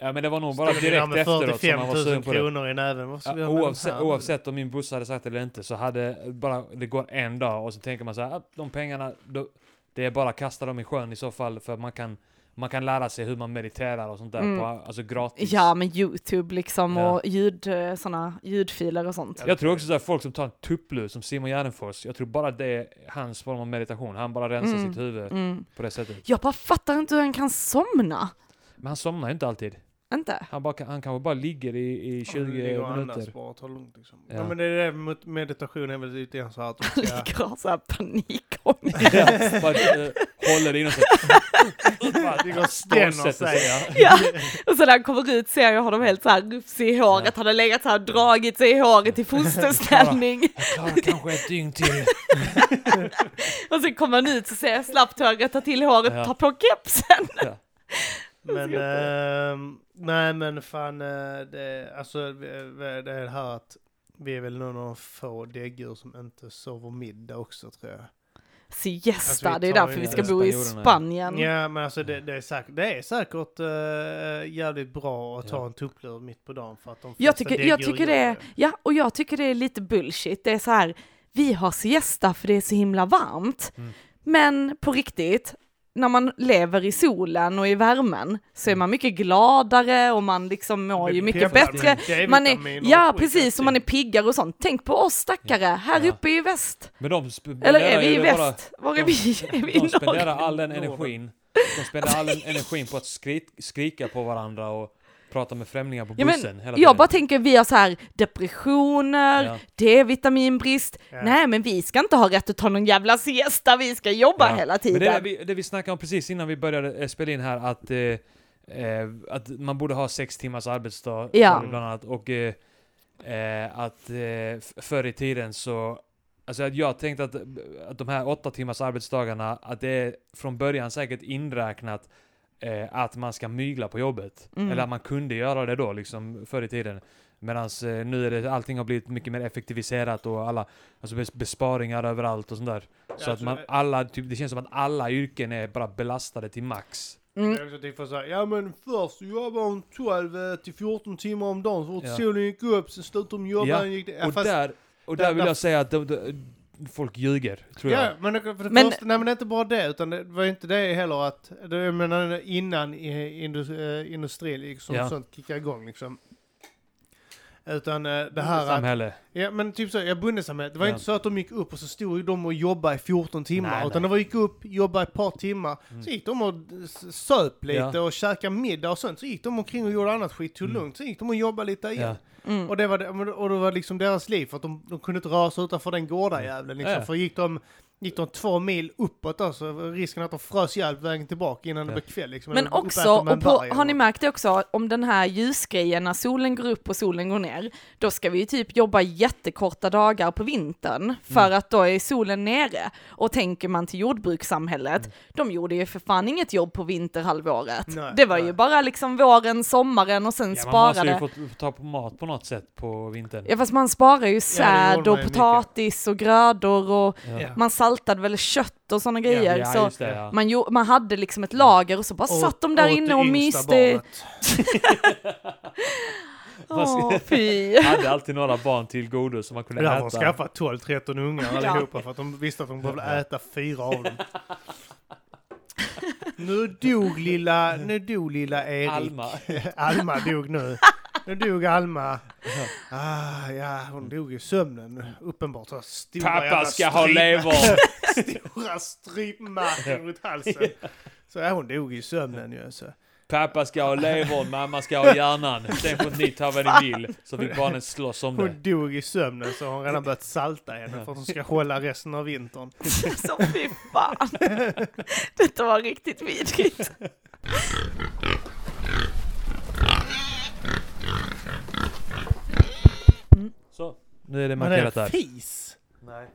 Ja men det var nog bara Skulle vi ha direkt med efteråt som 45 man var 000 sugen på det. kronor i näven. Vad ska vi Ja, göra med de oavsett, här? oavsett om min buss hade sagt det eller inte så hade bara, det går en dag och så tänker man så här, att de pengarna, då, det är bara att kasta dem i sjön i så fall för man kan, man kan lära sig hur man mediterar och sånt där Mm. på, alltså gratis. Ja, men YouTube liksom Ja. och ljud, eh, såna ljudfiler och sånt. Jag tror också såhär folk som tar en tupplur som Simon Gärdenfors, jag tror bara det är hans form av meditation, han bara rensar Mm. sitt huvud Mm. på det sättet. Jag bara fattar inte hur han kan somna. Men han somnar ju inte alltid. Inte? Han, bara, kan- han kanske bara ligger i, i Ja, men 20 det ligger och andas minuter. bara och tar det lugnt, liksom. Ja. Ja. men det är det med meditation är väl lite grann så här att du Han ska... ligger och har så här panikångest. Ja, bara, eh, håller in och så... Det går och spänner Stålsätter sig. sig, ja. ja. Och så när han kommer ut ser jag honom helt så här rufsig i håret, Ja. han har legat så här och dragit sig i håret i fosterställning. Jag klarar kanske ett dygn till. och sen kommer han ut så ser jag slappt hur han rättar till håret Ja. och tar på kepsen. Men, ehm, nej men fan, eh, det, alltså vi- vi- det är det här att vi är väl någon av de få däggdjur som inte sover middag också tror jag. siesta, Alltså, vi det tar är därför ju vi det. ska bo i Spanjorerna. Spanien. Ja, men alltså det, det är säkert, det är säkert eh, jävligt bra att ta Ja. en tupplur mitt på dagen för att de Jag flesta tycker, jag däggdjur tycker gör det, ja, och jag tycker det är lite bullshit. Det är så här, vi har siesta för det är så himla varmt. Mm. Men på riktigt, när man lever i solen och i värmen så är man mycket gladare och man liksom mår ju mycket peppar, bättre. men Man är, D-vitamin och ja, skit, precis, och man är piggare och sånt. Tänk på oss stackare, här Ja. uppe i väst. Men de sp- spenderar Eller är vi i ju bara- väst? Var är vi? Är vi i De norr? spenderar all den Norden. energin, de spenderar all den energin på att skri skrika på varandra och prata med främlingar på Ja, bussen men, hela jag bara tänker, vi har så här depressioner, Ja. D-vitaminbrist. Ja. Nej, men vi ska inte ha rätt att ta någon jävla siesta, vi ska jobba Ja. hela Men tiden. det, är vi, det vi snackade om precis innan vi började eh, spela in här, att, eh, eh, att man borde ha sex timmars arbetsdag Ja. sa vi bland annat. Och eh, eh, att eh, f- förr i tiden så, alltså att jag tänkte att, att de här åtta timmars arbetsdagarna, att det är från början säkert inräknat eh, att man ska mygla på jobbet. Mm. Eller att man kunde göra det då, liksom förr i tiden. Medan eh, nu är det, allting har blivit mycket mer effektiviserat och alla, alltså bes- besparingar överallt och sånt där. Så att Alltså, man det- alla, typ, det känns som att alla yrken är bara belastade till max. Mm. Jag tycker typ för så här, ja men först så jobbade hon 12 eh, till 14 timmar om dagen, så fort Ja. solen gick upp, sen slutade hon jobba, Ja, ja. gick det, ja, och fast, där, och där där- vill där- jag säga att de, de, folk ljuger, tror ja, jag. men det- för det Men- första, nej men det är inte bara det, utan det var inte det heller att, det, jag menar innan i- indus- eh, industrin liksom, Ja. sånt kickade igång liksom. Utan eh, det här att Samhälle. Ja men typ så, ja bondesamhället, det var Ja. inte så att de gick upp och så stod de och jobbade i 14 timmar. Nej, utan nej. Mm. de var gick upp, jobbade ett par timmar, så gick de och s- söp lite Ja. Mm. och käkade middag och sånt. Så gick de omkring och gjorde annat skit, tog lugnt, så gick de och jobbade lite igen. Mm. Och, det var, det- men- och det var liksom deras liv, för att de, de kunde inte röra sig utanför den gårdajäveln. Liksom. Mm. Ja. För gick de, gick de två mil uppåt då, så var risken att de frös ihjäl på vägen tillbaka innan det Ja. blev kväll. Liksom, Men Eller uppätna också, med en och på, berg har ni eller- märkt det också, om den här ljusgrejen när solen går upp och solen går ner, då ska vi ju typ jobba jättekorta dagar på vintern, för Mm. att då är solen nere. Och tänker man till jordbrukssamhället, Mm. de gjorde ju för fan inget jobb på vinterhalvåret. Nej, det var ju nej. bara liksom våren, sommaren och sen Ja, man måste sparade. ju få få ta på mat på något sätt på vintern. Ja fast man sparar ju säd gjorde man och ju mycket. potatis och grödor och Ja. Ja. man saltade väl kött och sådana grejer. Ja, så just det, ja. man, jo, man hade liksom ett lager och så bara Och- satt de där åt inne det och yngsta myste. barnet. Åh, fy. Hade alltid några barn till godo som man kunde Där har äta. de skaffat 12-13 ungar Ja. allihopa för att de visste att de behövde äta fyra av dem. Nu dog lilla, nu dog lilla Erik. Alma. Alma dog nu. Nu dog Alma. Ah, ja, hon dog i sömnen. Uppenbart. Så stora jävla Pappa ska ha stryp- lever! Stora strypmärken runt halsen. Så ja, hon dog i sömnen ju. Så. Pappa ska ha levern, mamma ska ha hjärnan. Sen får ni ta vad ni vill. Så vi barnen slåss om det. Hon dog i sömnen så har hon redan börjat salta henne för att hon ska hålla resten av vintern. Alltså fy fan. Detta var riktigt vidrigt. Så, nu är det Men markerat är en där. fis. Nej.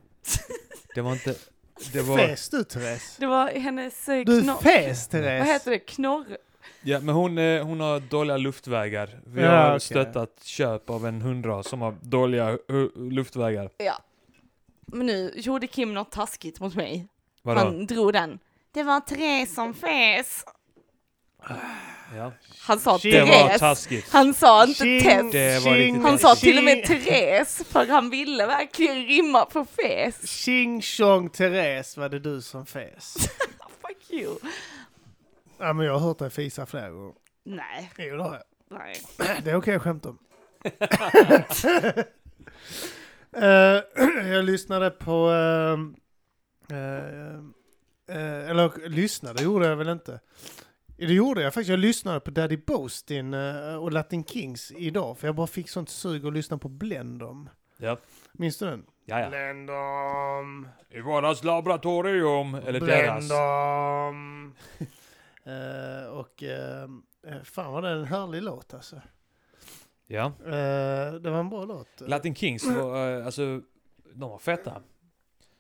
Det var inte... Det var... Fes du Therese? Det var hennes eh, Du knorr... fes Vad Therese! heter det? Knorr... Ja, men hon, eh, hon har dåliga luftvägar. Vi Ja, har okej. stöttat köp av en hundras som har dåliga hu- luftvägar. Ja. Men nu gjorde Kim något taskigt mot mig. Vadå? Han drog den. Det var Therese som fes. Ja. Han sa Shit. Det var Therese. taskigt. Han sa inte Tjing, Tess. Det var riktigt Han taskigt. sa till och med tjing, Therese, för han ville verkligen rimma på fes. Tjing tjong Therese var det du som fes. Fuck you. ja men jag har hört dig fisa flera gånger. Nej, Jo det har jag. nej. Det är okej att skämta om. Eh, jag lyssnade på... ehm, ehm, eh, eller lyssnade gjorde jag väl inte. Det gjorde jag faktiskt. Jag lyssnade på Daddy Boastin eh, och Latin Kings idag. För jag bara fick sånt sug att lyssna på Blendom. Ja. Minns du den? Ja, ja. Blendom! I våras laboratorium, eller deras. Blendom! Eh, och ehm, eh, fan var det en härlig låt alltså. Ja. Eh, det var en bra låt. Latin Kings var, eh, alltså, de var feta.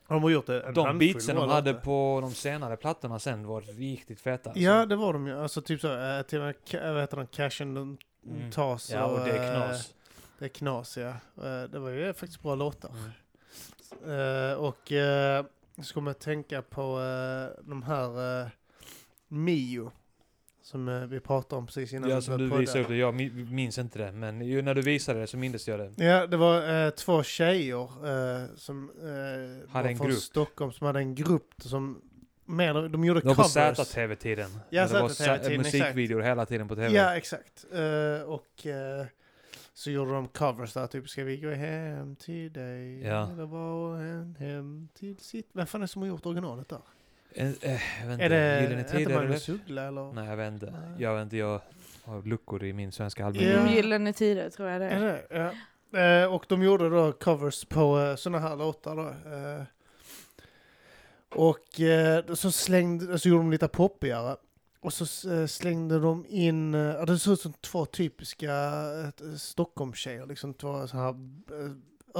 De har gjort det en De handfull beatsen bra de hade låtar. på de senare plattorna sen var riktigt feta. alltså. Ja, det var de ju. Alltså typ så, eh, till och med, Ca- vad heter de, Cash and Lun- Mm. Tas Ja, och det är eh, knas. det är knas, ja. Eh, det var ju faktiskt bra låtar. Mm. Eh, och eh, Så kommer jag att tänka på eh, de här eh, Mio. Som eh, vi pratade om precis innan Ja, vi som började du podda. visade upp det. Jag mi- minns inte det, men ju när du visade det så minns jag det. Ja, det var eh, två tjejer eh, som eh, var en från grupp. Stockholm som hade en grupp som mer, de gjorde Det var på covers. ZTV-tiden. Ja, När det var ZTV-tiden, sa- musikvideor hela tiden på TV. Ja, exakt. Eh, och eh, så gjorde de covers där, typ ska vi gå hem till dig? Ja. Eller var en hem till sitt... Vem fan är det som har gjort originalet där? En, eh, jag vet inte, är det, Gyllene är Tider det eller? Magnus Uggla eller? Nej, jag vet inte. Nej. Jag vet inte, jag har luckor i min svenska halvbild. Ja. Mm, Gyllene Tider tror jag det Är är. det? Ja. Eh, och de gjorde då covers på eh, sådana här låtar då. Eh, och eh, så slängde, så gjorde de lite poppigare. Och så eh, slängde de in, eh, ja, det såg ut som två typiska eh, Stockholmstjejer, liksom två så här eh,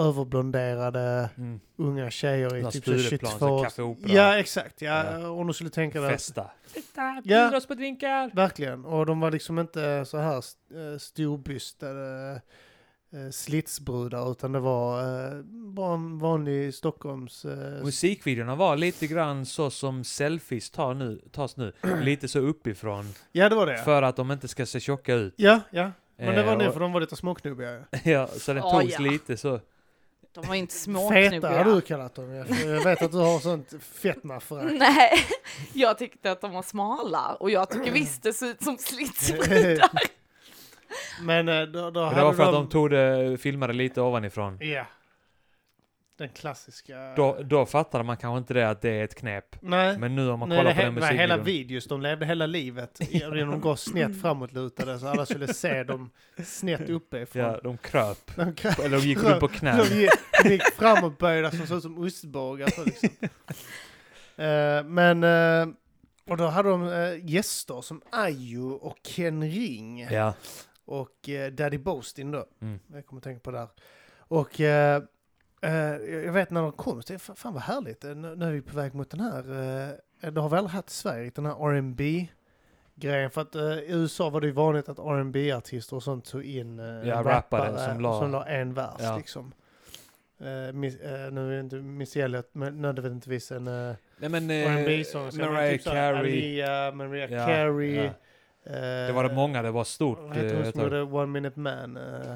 överblonderade Mm. unga tjejer i Någon typ så Stureplan, 22 så år. Café Opera. Ja, exakt. Ja, Ja. om du skulle tänka dig. Festa. Ja. oss på drinkar! Verkligen. Och de var liksom inte så här eh, storbystade eh, slitsbrudar utan det var eh, bara en vanlig Stockholms... eh, Musikvideorna var lite grann så som selfies tar nu, tas nu. Lite så uppifrån. Ja, det var det. För att de inte ska se tjocka ut. Ja, ja. Men det Eh, var nu och- för de var lite småknubbiga. ja. Ja, så den Ja, togs ja. lite så. De var inte Feta har du småknubbiga. kallat dem. ja. För Jag vet att du har sånt fetmaförakt. Nej, jag tyckte att de var smala och jag tycker visst det ser ut som slitsbrudar. Men eh, då, då Men hade det var för att de... de tog det, filmade lite ovanifrån. Ja. Den klassiska... Då, då fattade man kanske inte det att det är ett knep. Nej. Men nu om man Nej, kollar det på den he- var hela musikvideon. videos, de levde hela livet genom att gå snett framåtlutade så alla skulle se dem snett uppifrån. Ja, de kröp. De, kan, Eller de gick runt på knä. de gick, de gick framåtböjda som såg ut som ostbågar. så Liksom. Eh, men, eh, och då hade de eh, gäster som Ayo och Ken Ring Ja. och eh, Daddy Boastin då. Mm. Jag kommer att tänka på det här. Och eh, eh, jag vet när de kom, så tänkte jag, fan vad härligt, Eh, nu, nu är vi på väg mot den här, eh, det har väl haft Sverige, den här R&B grejen för att eh, i USA var det ju vanligt att rb artister och sånt tog in eh, rappare som som, la- la... en vers Ja. liksom. Eh, miss, eh, nu är det inte Miss Elliot men nödvändigtvis en eh, Nej men... rb Eh, sång Mariah Carey. Alia, Mariah Ja, Carey. ja. Det var det eh, många, det var stort. vad eh, heter hon ett som tag. gjorde One Minute Man? eh?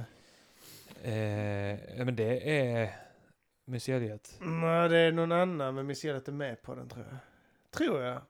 Eh, ja, men det är mysteriet. Nej, det är någon annan, men Miss Elliot är med på den tror jag. Tror jag.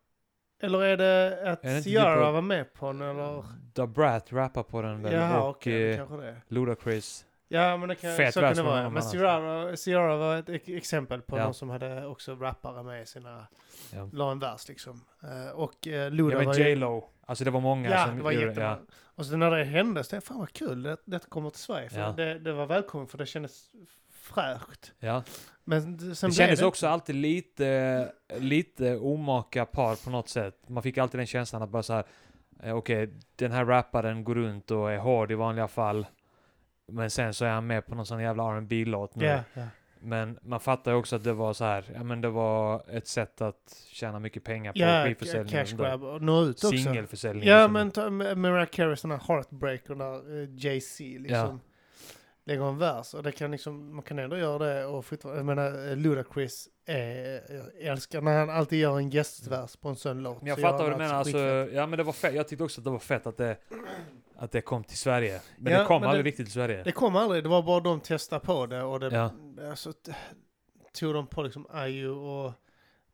Eller är det att Är det inte Ciara typ av- var med på den eller? Da Brat rappar på den väl Jaha, och okej, det eh, kanske det är. Ludacris. Ja, men det kan, fet så kan vers det med vara. någon Men annan. Ciara, Ciara var ett ex- exempel på alltså. Ja. någon som hade också rappare med i sina, Ja. la en vers liksom. Eh, Och eh, Ja Luda var men ju- J Lo. Alltså det var många Ja, som det var gjorde- jättebra. Och sen när det hände så tänkte jag, fan vad kul, det, det kommer till Sverige. För Ja. det, det var välkommet för det kändes fräscht. Ja. ja. Men d- sen Det blev kändes det också alltid lite, lite omaka par på något sätt. Man fick alltid den känslan att bara så här, eh, okej, den här rapparen går runt och är hård i vanliga fall. Men sen så är han med på någon sån jävla rb låt nu. Ja, ja. Men man fattar ju också att det var så här, ja men det var ett sätt att tjäna mycket pengar på ja skivförsäljning. cash grab och nå ut också. Singelförsäljning. Ja, liksom. men ta M- Mariah Careys den här Heartbreaker där eh, Jay-Z liksom lägger en vers. Och det kan liksom, man kan ändå göra det och fortfarande, jag menar eh, Ludacris är, jag älskar när han alltid gör en gästvers på en sån låt. Men jag så fattar vad gör han du menar. Alltså, skitfett. ja, men det var fett. Jag tyckte också att det var fett att det, att det kom till Sverige. Men Ja, det kom men aldrig det- riktigt till Sverige. Det kom aldrig, det var bara de testade på det och det, Ja. alltså, t- tog de på liksom IU och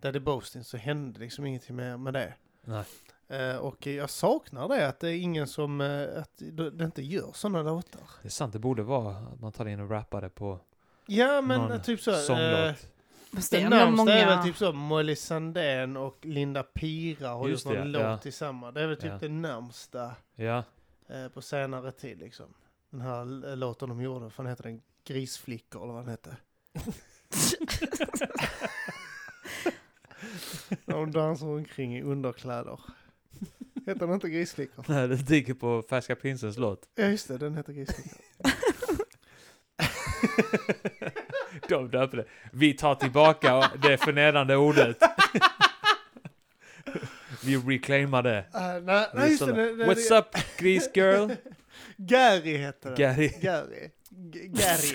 Daddy Boastin så hände liksom ingenting med, med det. Nej. Eh, och jag saknar det, att det är ingen som, eh, att det det inte gör sådana låtar. Det är sant, det borde vara att man tar in och rappar det på Ja men Någon eh, typ så. Eh, sånglåt. Fast det är det ändå närmsta är många... väl typ så Molly Sandén och Linda Pira har Just gjort någon det, låt ja. tillsammans. Det är väl typ Ja. det närmsta Ja, eh, på senare tid liksom. Den här l- låten de gjorde, vad fan heter den? Grisflickor eller vad den hette. När de dansar omkring i underkläder. Heter den inte Grisflickor? Nej, det dyker på Färska Prinsens låt. Ja just det, den heter Grisflickor. De döper det. Vi tar tillbaka det förnedrande ordet. Vi reclaimar det. Ah, nej, nej just det, det, det, What's up, gris girl? Gary heter den. Gary. Gary. G- Gary.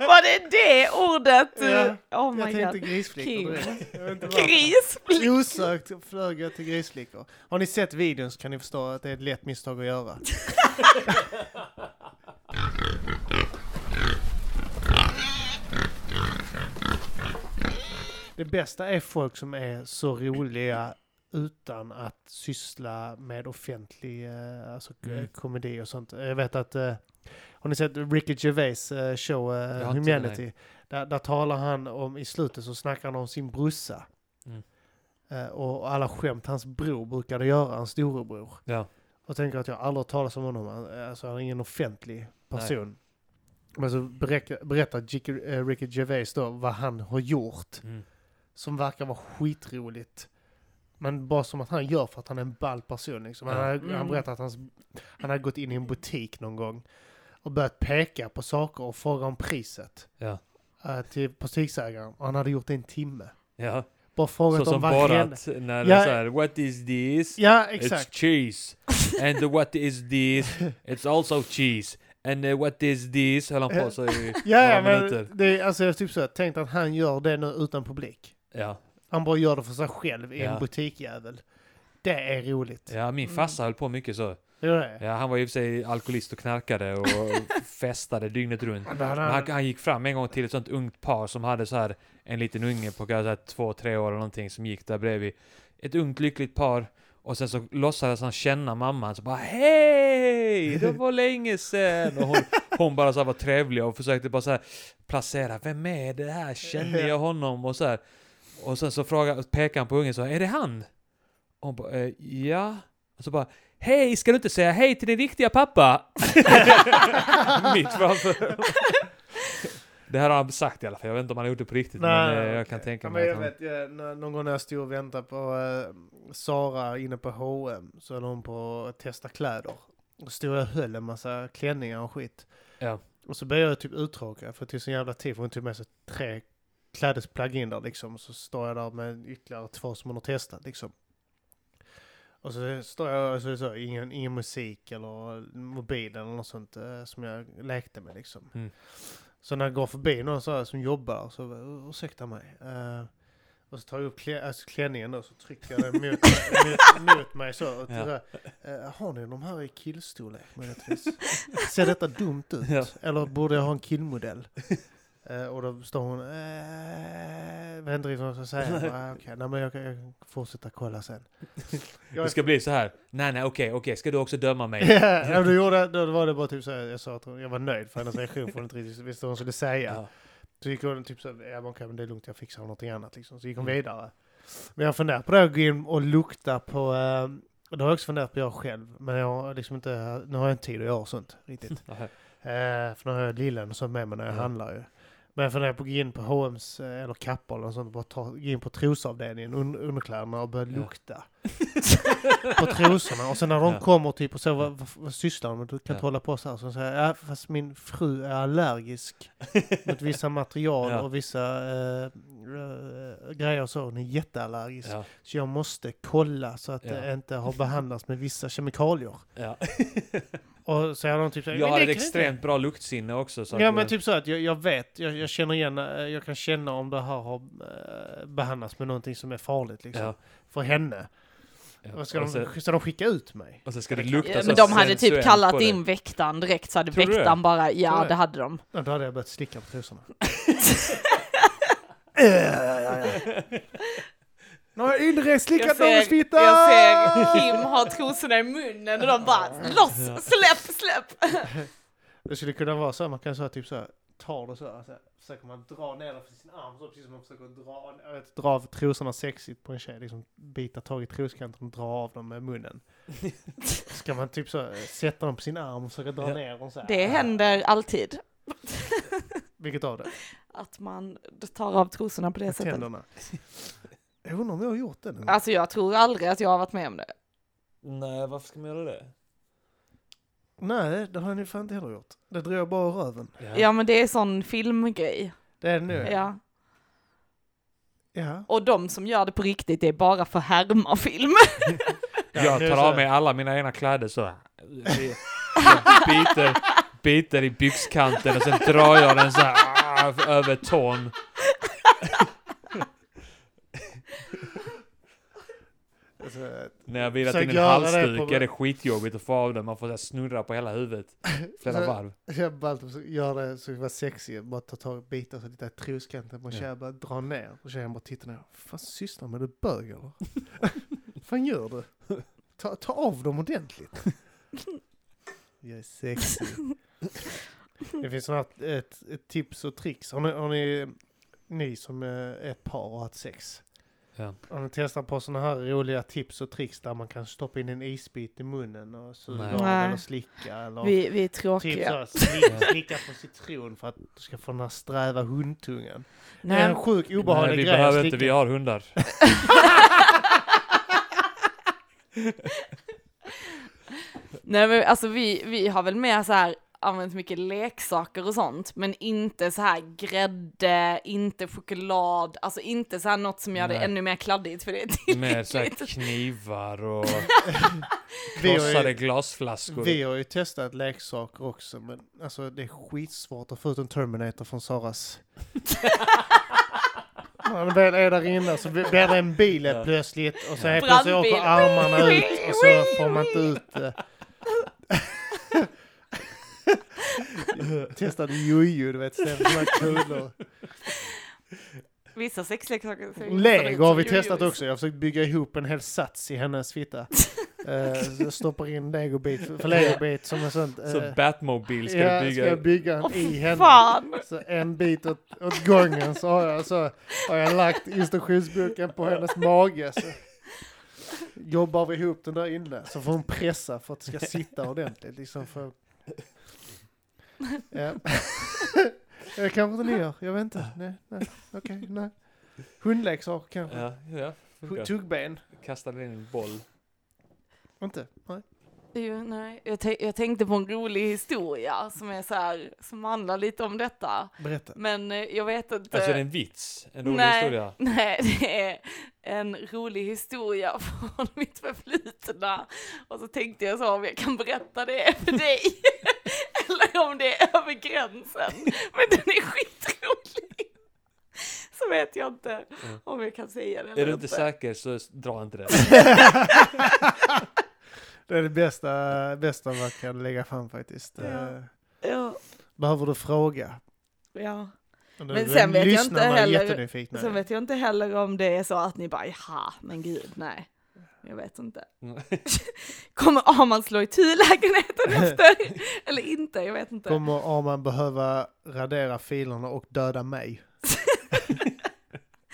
Var det det ordet? Ja, oh jag my tänkte god. King. grisflickor direkt. Jag vet inte varför. Grisflick! Osökt flög jag till grisflickor. Har ni sett videon så kan ni förstå att det är ett lätt misstag att göra. Det bästa är folk som är så roliga utan att syssla med offentlig eh, alltså, k- Mm. komedi och sånt. Jag vet att, eh, har ni sett Ricky Gervais eh, show eh, Jag har inte, Humanity? Där, där talar han om, i slutet så snackar han om sin brorsa. Mm. Eh, och alla skämt hans bror brukade göra, hans storebror. Ja. Och tänker att jag aldrig har talat om honom, Han- alltså han är ingen offentlig person. Men så beräk- berättar Jicky- eh, Ricky Gervais då vad han har gjort Mm. som verkar vara skitroligt. Men bara som att han gör för att han är en ball person. Liksom. Han, Ja. hade- Mm. han berättade att hans, han hade gått in i en butik någon gång och börjat peka på saker och fråga om priset Ja. eh, till butiksägaren. Och han hade gjort det i en timme. Ja. Bara Så frågat om som bara varenda... att när det Ja. är så här, what is this? Ja, It's exakt. cheese. And the what is this? It's also cheese. And the what is this? Höll han på sig i Ja, ja, några men minuter. det är, alltså, jag typ så här, tänkt att han gör det nu utan publik. Ja. Han bara gör det för sig själv i en Ja. butikjävel. Det är roligt. ja, min Mm. farsa höll på mycket så. Det är det. Ja, han var i och för sig alkoholist och knarkade och festade dygnet runt. Men han- Men han, han gick fram en gång till ett sånt ungt par som hade så här en liten unge på kanske så här två, tre år eller någonting som gick där bredvid. Ett ungt lyckligt par och sen så låtsades han känna mamman så bara hej, det var länge sedan. Och hon, hon bara så här var trevlig och försökte bara så här placera, vem är det här, känner jag honom och så här. Och sen så frågar, pekar han på ungen så här, är det han? Och hon bara, eh, ja. Och så bara, hej, ska du inte säga hej till din riktiga pappa? Mitt framför. Det här har han sagt i alla fall, jag vet inte om han har gjort det på riktigt, men eh, jag okej. kan tänka ja, mig men jag att han... vet, jag, när, Någon gång när jag stod och väntade på eh, Sara inne på H&M så höll hon på att testa kläder. Och stod jag och höll en massa klänningar och skit. Ja. Och så blev jag typ uttråkad för det tog sån jävla tid för hon tog med sig tre klädesplagg in där liksom. Så står jag där med ytterligare två som hon har testat liksom. Och så står jag och så, är det så, ingen, ingen musik eller mobilen eller något sånt eh, som jag lekte med liksom. Mm. Så när jag går förbi någon så här som jobbar så "Ur- ursäkta mig. Eh, och så tar jag upp klä, alltså klänningen och så trycker jag den mot, mig- mot, mot mig så. Och Ja. ja. har ni de här i killstorlek möjligtvis? Ser detta dumt ut? Ja. Eller borde jag ha en killmodell? Eh, och då står hon... Eh, vet inte riktigt vad hon ska säga. Jag bara, "Ah, Okej, nej men jag kan, jag kan fortsätta kolla sen. Jag Det ska bli så här. nej nej okej, okej, ska du också döma mig? Ja, men då, gjorde, jag- då var det bara typ så här, jag sa att hon, jag var nöjd för hennes reaktion för hon inte riktigt visste vad hon skulle säga. Ja. Så gick hon typ så här, ja men okej men det är lugnt jag fixar någonting annat liksom. Så gick hon Mm. vidare. Men jag funderar på det att gå in och lukta på, eh, och det har jag också funderat på jag själv. Men jag har liksom inte, nu har jag inte tid att göra sånt riktigt. Ja. Eh, för nu har jag lillen och sånt med mig när jag Ja. handlar ju. Men jag funderar på att gå in på H&M's eh, eller kappor eller något sånt och bara ta, gå in på trosavdelningen, un, underkläderna och börja Ja. lukta. på trosorna och sen när de Ja. kommer typ och så vad, vad, vad sysslar de med? Du kan Ja. inte hålla på så här. Så de säger ja, fast min fru är allergisk mot vissa material Ja. och vissa eh, eh, grejer och så. Hon är jätteallergisk. Ja. Så jag måste kolla så att det Ja. inte har behandlats med vissa kemikalier. Ja. Och så är de typ så här, Jag "Men har det ett kan inte extremt bra luktsinne också. Så Ja att, men eh, typ så att jag, jag vet, jag, jag känner igen, eh, jag kan känna om det här har eh, behandlats med någonting som är farligt liksom. ja, För henne. ja. Alltså- Och ska, Och så- de, ska de skicka ut mig? Och så ska det Ja, lukta Ja, så men de hade sensuellt typ kallat på det. in väktaren direkt så hade Tror du det? väktaren bara, ja Tror du? det hade de. Ja, då hade jag börjat slicka på trosorna. Nu har jag inrest Jag slickat någons ser, fitta! jag ser Kim har trosorna i munnen och de bara, loss, släpp, släpp! Det skulle kunna vara så här, man kan säga typ så här, tar det så här, så här försöker man dra ner den för sin arm så precis som man försöker dra, jag vet, dra av trosorna sexigt på en tjej, liksom bita tag i troskanten och dra av dem med munnen. Ska man typ så här, sätta dem på sin arm och försöka dra Ja. ner dem så här? Det händer alltid Vilket av det? att man tar av trosorna på det sättet. Tänderna? Jag undrar om jag har gjort det någon gång. Alltså jag tror aldrig att jag har varit med om det. Nej, varför ska man göra det? Nej, det har jag nog fan inte heller gjort. Det drog jag bara ur röven. Ja. Ja, men det är sån filmgrej. Det är det nu. Ja. ja. Och de som gör det på riktigt det är bara för härmafilm. Jag nu tar så- av mig alla mina egna kläder så. Jag byter, bitar i byxkanten och sen drar jag den så här ah, över tån. Alltså, När jag virat Försök in en göra det halsduk på- är det skitjobbigt att få av den. Man får så här snurra på hela huvudet flera Så- varv. Jag bara alltid gör det så det var sexigt, bara ta tag i bitar så tittar jag i troskanten på Ja. tjejen bara drar ner. Och tjejen bara tittar ner. Fan sysslar med du bög eller? fan gör du? Ta, ta av dem ordentligt. Jag är sexig. Det finns snart ett, ett tips och tricks. Har ni, har ni, ni som eh, är ett par och har haft sex? Ja. Har ni testat på sådana här roliga tips och tricks där man kan stoppa in en isbit i munnen och suga Nej. av Nej. eller slicka eller Vi, vi är Typ tråkiga. så, slick, slicka på citron för att du ska få den här sträva hundtungan. Det är en Nej. sjuk Nej, obehaglig vi grej att behöver inte, vi slicka. har hundar. Nej men alltså vi, vi har väl mer så här använt mycket leksaker och sånt, men inte så här grädde, inte choklad, alltså inte så här något som gör det Nej. ännu mer kladdigt för det är Med så här tillräckligt. knivar och Vi har, krossade ju, glasflaskor. vi har ju testat leksaker också men alltså det är skitsvårt att få ut en Terminator från Saras. När den väl är där inne så blir det en bil helt plötsligt och så helt plötsligt åker Brandbil. armarna Wee, ut och så wee, får man inte ut det. Testade jojo, du vet, sådana kulor. Vissa sexleksaker ser ju Lego har vi ut som testat jojos. också. Jag har försökt bygga ihop en hel sats i hennes fitta. Eh, så jag stoppar in legobit för legobit som en sån... eh, Så Batmobile ska ja, du bygga. ska jag bygga en Åh, i fy henne. fan! Så en bit åt, åt gången så har jag, så har jag lagt instruktionsboken på hennes mage. Så jobbar vi ihop den där inne så får hon pressa för att det ska sitta ordentligt. Liksom för... ja. det kanske inte ni gör, jag vet inte. Nej, nej, okej, nej. Hundleksaker kanske. Ja, ja. funkar. Tuggben? Kastade in en boll. Inte? Nej. Jo, nej. Jag, tän- jag tänkte på en rolig historia som är så här, som handlar lite om detta, Berätta. men eh, jag vet inte. Alltså är det en vits? En rolig Nej. historia? Nej, det är en rolig historia från mitt förflutna. Och så tänkte jag så om jag kan berätta det för dig. Eller om det är över gränsen. Men den är skitrolig. Så vet jag inte om jag kan säga det Är eller du inte säker så s- dra inte det. Det är det bästa, bästa man kan lägga fram faktiskt. Ja. Eh, Ja, Behöver du fråga? ja. Men, sen vet jag inte heller- jättenyfikna. Sen vet jag inte heller om det är så att ni bara, jaha, men gud, nej. Jag vet inte. Mm. Kommer Aman slå itu lägenheten efter? Eller inte, jag vet inte. Kommer Arman behöva radera filerna och döda mig?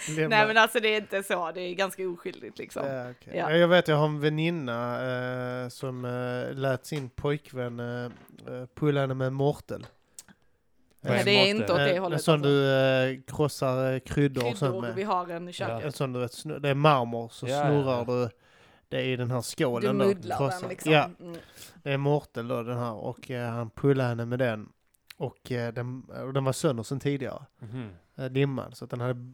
Lämna- Nej men alltså det är inte så, det är ganska oskyldigt liksom. Ja, okej. Ja. Ja. Jag vet, jag har en väninna eh, som eh, lät sin pojkvän eh, eh, pulla henne med en mortel. Vad är Nej, det är inte åt Eh, det en hållet. sån alltså. du eh, krossar eh, kryddor, och sånt Kryddor med. vi har en i Ja. köket. En sån du vet, snu- det är marmor så Ja, ja, snurrar ja. du det i den här Du skålen. då, muddlar krossar. den liksom. Ja, Mm. det är mortel då den här och eh, han pullade henne med den. Och eh, den, och den var sönder sen tidigare, Mhm. eh, dimman. Så att den hade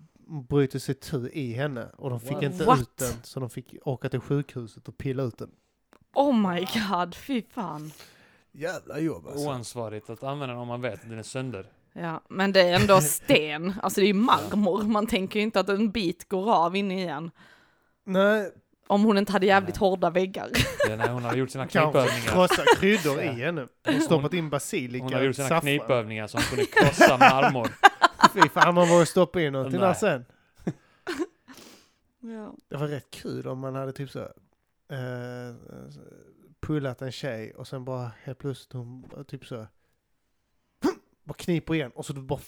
brutit sig tu i henne och de fick What? inte What? ut den. Så de fick åka till sjukhuset och pilla ut den. Oh my god, fy fan. Jävla jobb alltså. Oansvarigt att använda den om man vet att den är sönder. Ja, men det är ändå sten, alltså det är ju marmor. Man tänker ju inte att en bit går av inne igen. Nej, Om hon inte hade jävligt hårda väggar. Ja, nej, hon har gjort sina kanske knipövningar. krossa kryddor i henne. Stoppat in basilika, Hon har gjort sina saffran. knipövningar så hon kunde krossa marmor. Fy fan, man borde stoppa in någonting där Nej. sen. Ja. Det var rätt kul om man hade typ så eh, pullat en tjej och sen bara helt plötsligt hon bara typ så bara kniper igen och så du bara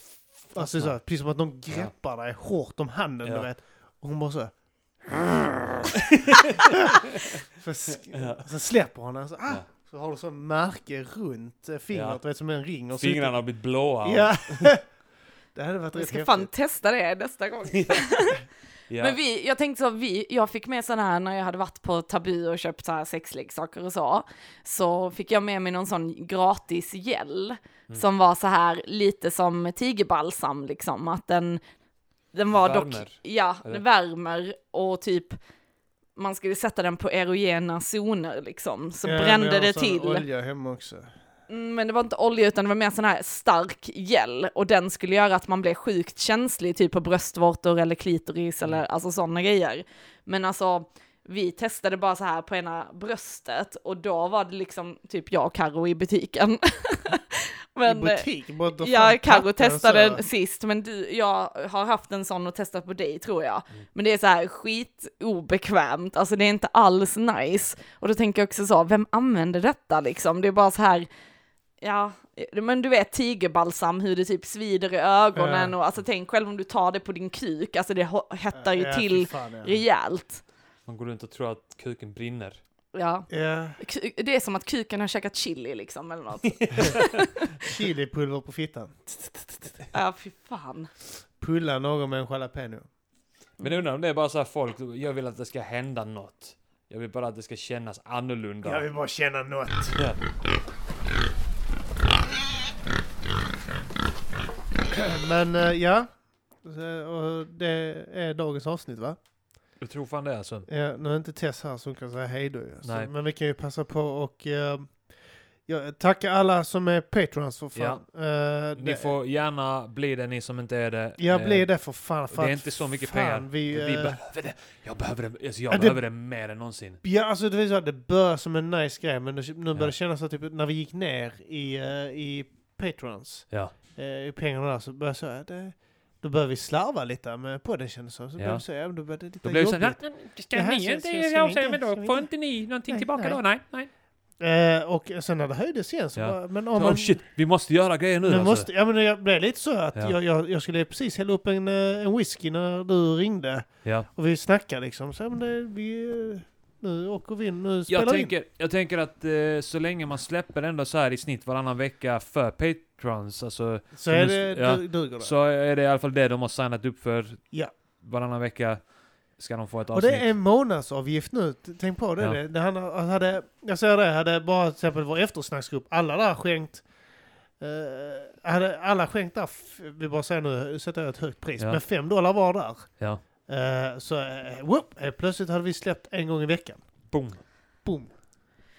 alltså så här, precis som att någon greppar dig hårt om handen Ja. du vet och hon bara så så, sk- så släpper hon den så, ah, Ja. så har du så märke runt eh, fingret Ja. du vet som en ring och så- Fingrarna har blivit blåa. ja det hade varit Vi rätt ska häftigt fan testa det nästa gång. Ja. Men vi, jag tänkte så, vi, jag fick med sådana här när jag hade varit på Tabu och köpt så här sexleksaker och så. Så fick jag med mig någon sån gratis gel som var så här lite som tigerbalsam liksom. Att den, den var dock, Värmer, ja, eller? det värmer och typ man skulle sätta den på erogena zoner liksom. Så Ja, men jag brände har det sån till. olja hemma också Mm, Men det var inte olja utan det var mer sån här stark gel och den skulle göra att man blev sjukt känslig, typ på bröstvårtor eller klitoris Mm. eller alltså sådana grejer. Men alltså, vi testade bara så här på ena bröstet och då var det liksom typ jag och Karo i butiken. I Men, eh, butik? Bara dra Ja, fram Carro plattan och testade så. den sist, men du, jag har haft en sån och testat på dig tror jag. Mm. Men det är så här skitobekvämt, alltså det är inte alls nice. Och då tänker jag också så, vem använder detta liksom? Det är bara så här, ja, men du vet tigerbalsam, hur det typ svider i ögonen Ja. och alltså tänk själv om du tar det på din kuk, alltså det ho- hettar ju Ja, till fy fan, ja. rejält. Man går runt och tror att kuken brinner. Ja. Ja, Ku- Det är som att kuken har käkat chili liksom eller något. chilipulver på fittan. Ja, fy fan. Pulla någon med en jalapeno. Men jag undrar om det är bara så här folk, jag vill att det ska hända något. Jag vill bara att det ska kännas annorlunda. Jag vill bara känna något. Ja. Men eh, ja, Så, och det är dagens avsnitt va? Jag tror fan det alltså. Ja, nu är inte Tess här som kan säga hej då. ju. Så, Nej. men vi kan ju passa på och eh, ja, tacka alla som är patrons för fan. Eh, Ni det- får gärna bli det, ni som inte är det. Ja, Eh, bli det för fan. För Det är att inte så mycket fan, pengar. Vi, Vi eh, behöver det. Jag behöver det, alltså jag Ja, det- behöver det mer än någonsin. Ja, alltså det, är så att det börjar som en nice grej, men det, nu börjar Ja. det kännas så att typ, när vi gick ner i, eh, i patrons, Ja. eh, i pengarna där, så började jag säga att det- då började vi slarva lite med podden kändes det som. Så Ja. började vi säga, ja, men då började det lite Då blir det jobbigt. såhär, Det ska här ni ska- inte ska- ska ni avslöja inte- mig ska då? vi Får inte- inte ni någonting Nej, tillbaka nej. då? Nej, nej. Eh, och sen när det höjdes igen så Ja. bara, men om man... Oh shit, vi måste göra grejer nu Nu alltså. måste, ja, men jag blev lite så att Ja. jag, jag, jag skulle precis hälla upp en, eh, en whisky när du ringde Ja. och vi snackade liksom. Så, ja, men det, vi, eh, nu åker vi in, nu spelar Jag vi in. tänker, jag tänker att eh, så länge man släpper ändå så här i snitt varannan vecka för patrons, alltså, Så är nu- det, ja. du, duger det. så är det i alla fall det de har signat upp för. Ja. Varannan vecka ska de få ett Och avsnitt. det är en månadsavgift nu, T- tänk på det. Ja. det. det han hade, jag säger det, hade bara till exempel vår eftersnacksgrupp, alla där skänkt, eh, hade alla skänkt där, f- vi bara säger nu, sätter jag ett högt pris, Ja. men fem dollar var där. Ja. Eh, så eh, whoop, eh, plötsligt hade vi släppt en gång i veckan. Boom. Boom.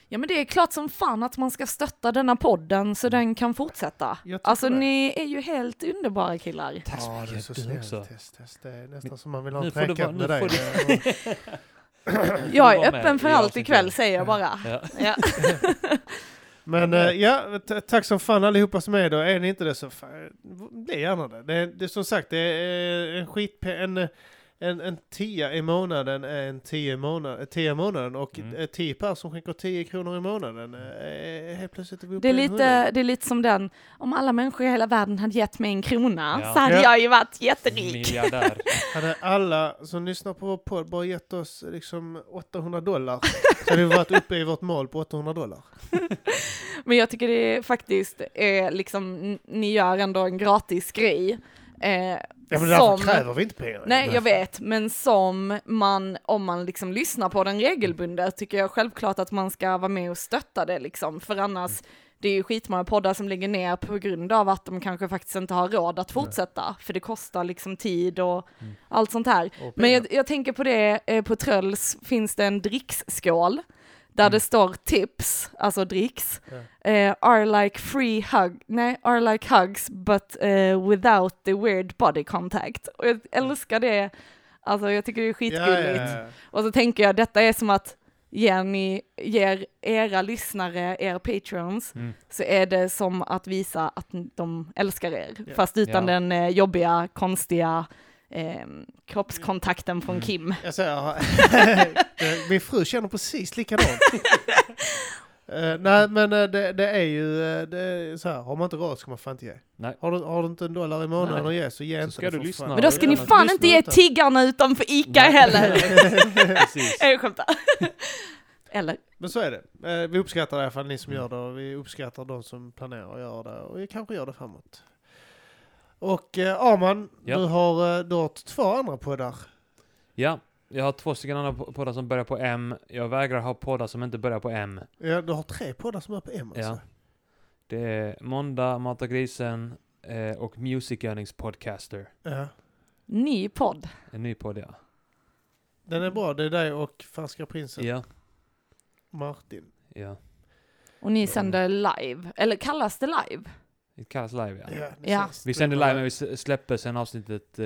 Ja men det är klart som fan att man ska stötta denna podden så den kan fortsätta. Jag tycker Alltså det. ni är ju helt underbara killar. Tack så Ja, det är mycket, så du också. snällt. Tess, Tess. Det är nästan som man vill ha Nu en får du träkat vara- med nu dig. Eh, Jag vara är med öppen för i allt avsnittet. ikväll säger jag bara. Ja. Ja. Men eh, ja, t- tack som fan allihopa som är då. Är ni inte det så fan, bli gärna det. Det är, det är som sagt, det är en skit en, en, en tia i månaden är en tia i månaden, tia i månaden och Mm. mm. tio pers som skänker 10 kronor i månaden. Eh, helt plötsligt är vi uppe Det, är i en hundring. lite, det är lite som den, om alla människor i hela världen hade gett mig en krona Ja. så hade Ja. jag ju varit jätterik. Miljardär. Hade alla som lyssnar på vår podd bara gett oss liksom 800 dollar så hade vi varit uppe i vårt mål på 800 dollar. Men jag tycker det är faktiskt är liksom, n- ni gör ändå en gratis grej. Eh, Ja, men därför som- kräver vi inte pengar. Nej, jag vet, men som man, om man liksom lyssnar på den regelbundet, tycker jag självklart att man ska vara med och stötta det liksom, för annars, det är ju skitmånga poddar som ligger ner på grund av att de kanske faktiskt inte har råd att fortsätta, för det kostar liksom tid och allt sånt här. Men jag, jag tänker på det, eh, på Trölls finns det en dricksskål, där det står tips, alltså dricks, eh, are like free hug, nej, are like hugs but eh, without the weird body contact. Och jag älskar det, alltså jag tycker det är skitgulligt. Och så tänker jag, detta är som att ger ni, ger era lyssnare, er patrons, Mm. så är det som att visa att de älskar er, Ja. fast utan Ja. den eh, jobbiga, konstiga eh, kroppskontakten från Mm. Kim. Alltså, Jag säger, eh, min fru känner precis likadant. Eh, nej, men eh, det, det är ju eh, det är så här, har man inte råd ska man fan inte ge. Nej. Har, du, har du inte en dollar i månaden Nej. att ge så ge Så inte ska det du för lyssna. fan. Men då ska ni Ja, fan inte ge tiggarna utanför ICA heller! Precis. Nej, Jag skämtar. Eller? Men så är det. Eh, vi uppskattar i alla fall ni som gör det och vi uppskattar de som planerar att göra det och vi kanske gör det framåt. Och eh, Arman, Ja. du, har, eh, du har två andra poddar. Ja, jag har två stycken andra po- poddar som börjar på M. Jag vägrar ha poddar som inte börjar på M. Ja, du har tre poddar som är på M alltså. Ja. Det är Måndag, Mata Grisen eh, och Music Earnings Podcaster. Ja. Ny podd. En ny podd, ja. Den är bra, det är dig och Färska Prinsen Ja. Martin. ja. Och ni sänder live, eller kallas det live? Det kallas live ja. det Ja. känns- Vi sänder live men vi s- släpper sen avsnittet eh,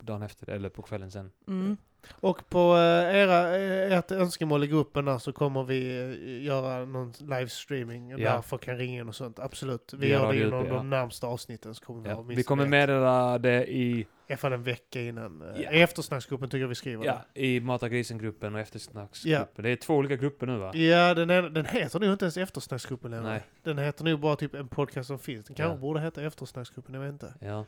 dagen efter, eller på kvällen sen. Mm. Och på eh, era, eh, ert önskemål i gruppen där så kommer vi eh, göra någon livestreaming Ja. där folk kan ringa in och sånt. Absolut. Vi Via gör det Radio inom UP, ja. de närmsta avsnitten så kommer vi Ja. ha Vi minst kommer ett. meddela det i, I alla fall en vecka innan. eh, Ja. I eftersnacksgruppen tycker jag vi skriver ja, i Mata grisen-gruppen och eftersnacksgruppen. Det är två olika grupper nu va? det. Ja, den, är, den heter nog inte ens eftersnacksgruppen längre. Nej. Den heter nog bara typ en podcast som finns. Den kanske Ja. borde heta eftersnacksgruppen, jag vet inte. Ja.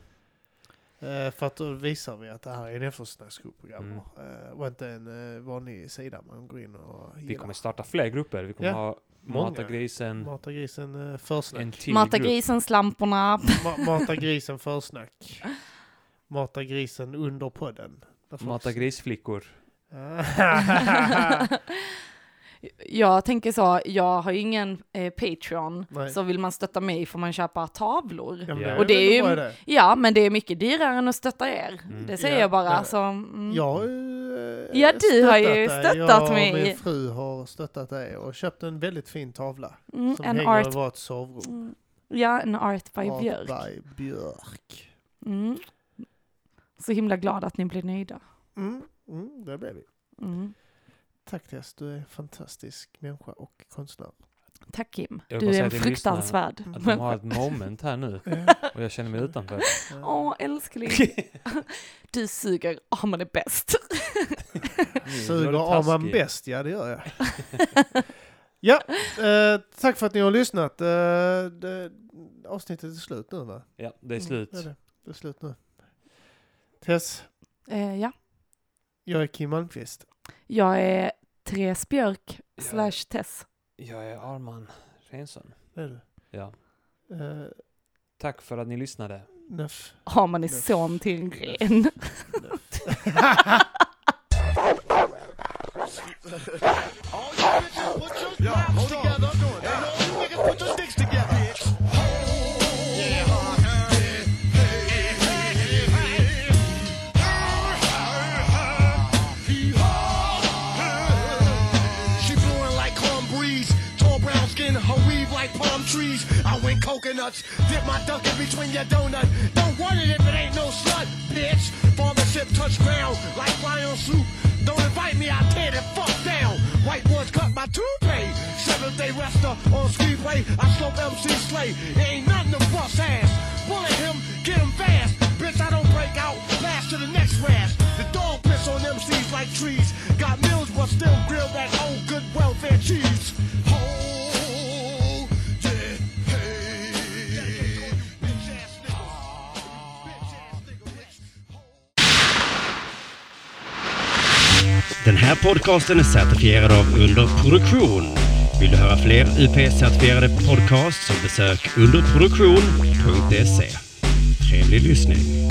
Eh, för att då visar vi att det här är en eftersnacksgrupp Mm. eh, och inte en eh, vanlig sida man går in och Vi gillar. kommer starta fler grupper. Vi kommer Ja. ha Många. Mata grisen, Mata grisen eh, en försnack. till Mata grupp. grisen, slamporna. Ma- Mata grisen försnack. Mata grisen under podden. Där får Mata vi- grisflickor. jag tänker så, jag har ju ingen eh, Patreon, Nej. så vill man stötta mig får man köpa tavlor. Ja, men Ja. är Och det är väl ju- en bra idé. Ja, men det är mycket dyrare än att stötta er. Mm. Det säger Ja, jag bara. ja. Alltså, mm. Jag har eh, Ja, du har ju dig. stöttat jag och mig. min fru har stöttat dig och köpt en väldigt fin tavla. mm, Som en hänger i art. vårt sovrum. Mm. Ja, en art by Björk. Art by Björk. Mm. Så himla glad att ni blev nöjda. Mm, mm, där blev vi. Mm. Tack Tess, du är en fantastisk människa och konstnär. Tack Kim, Jag vill du bara är säga en till lyssnarna fruktansvärd. Att de har ett Mm. moment här nu och jag känner mig utanför. Åh älskling, du suger, oh, man är bäst. Mm, Suger av man bäst, ja det gör jag. ja, eh, tack för att ni har lyssnat. Eh, det, avsnittet är slut nu va? Ja, det är Mm, slut. Det är, det. det är slut nu. Tess, Eh, ja, jag är Kim Malmqvist. jag är Therese Björk Ja. slash Tess. Jag är Arman Rensson. Det är du. Ja. Eh, Tack för att ni lyssnade. Neff. Oh, man är son till en ren. She blowing like calm breeze. Tall brown skin, her weave like palm trees. I went coconuts, dip my dunk in between your donut. Don't want it if it ain't no slut, bitch. Father ship touch ground like flying sloop. Don't invite me, I tear the fuck down. White boys cut my toupee. Seventh day rester on ski play. I slope MC Slay. It ain't nothing to bust ass. Bullet him, get him fast. Bitch, I don't break out. Pass to the next rash. The dog piss on MCs like trees. Got meals, but still grill that old good welfare cheese. Hold it, hey. Bitch ass nigga. Bitch ass nigga, bitch. Den här podcasten är certifierad av Underproduktion. Vill du höra fler UP-certifierade podcasts så besök underproduktion.se. E. Trevlig lyssning!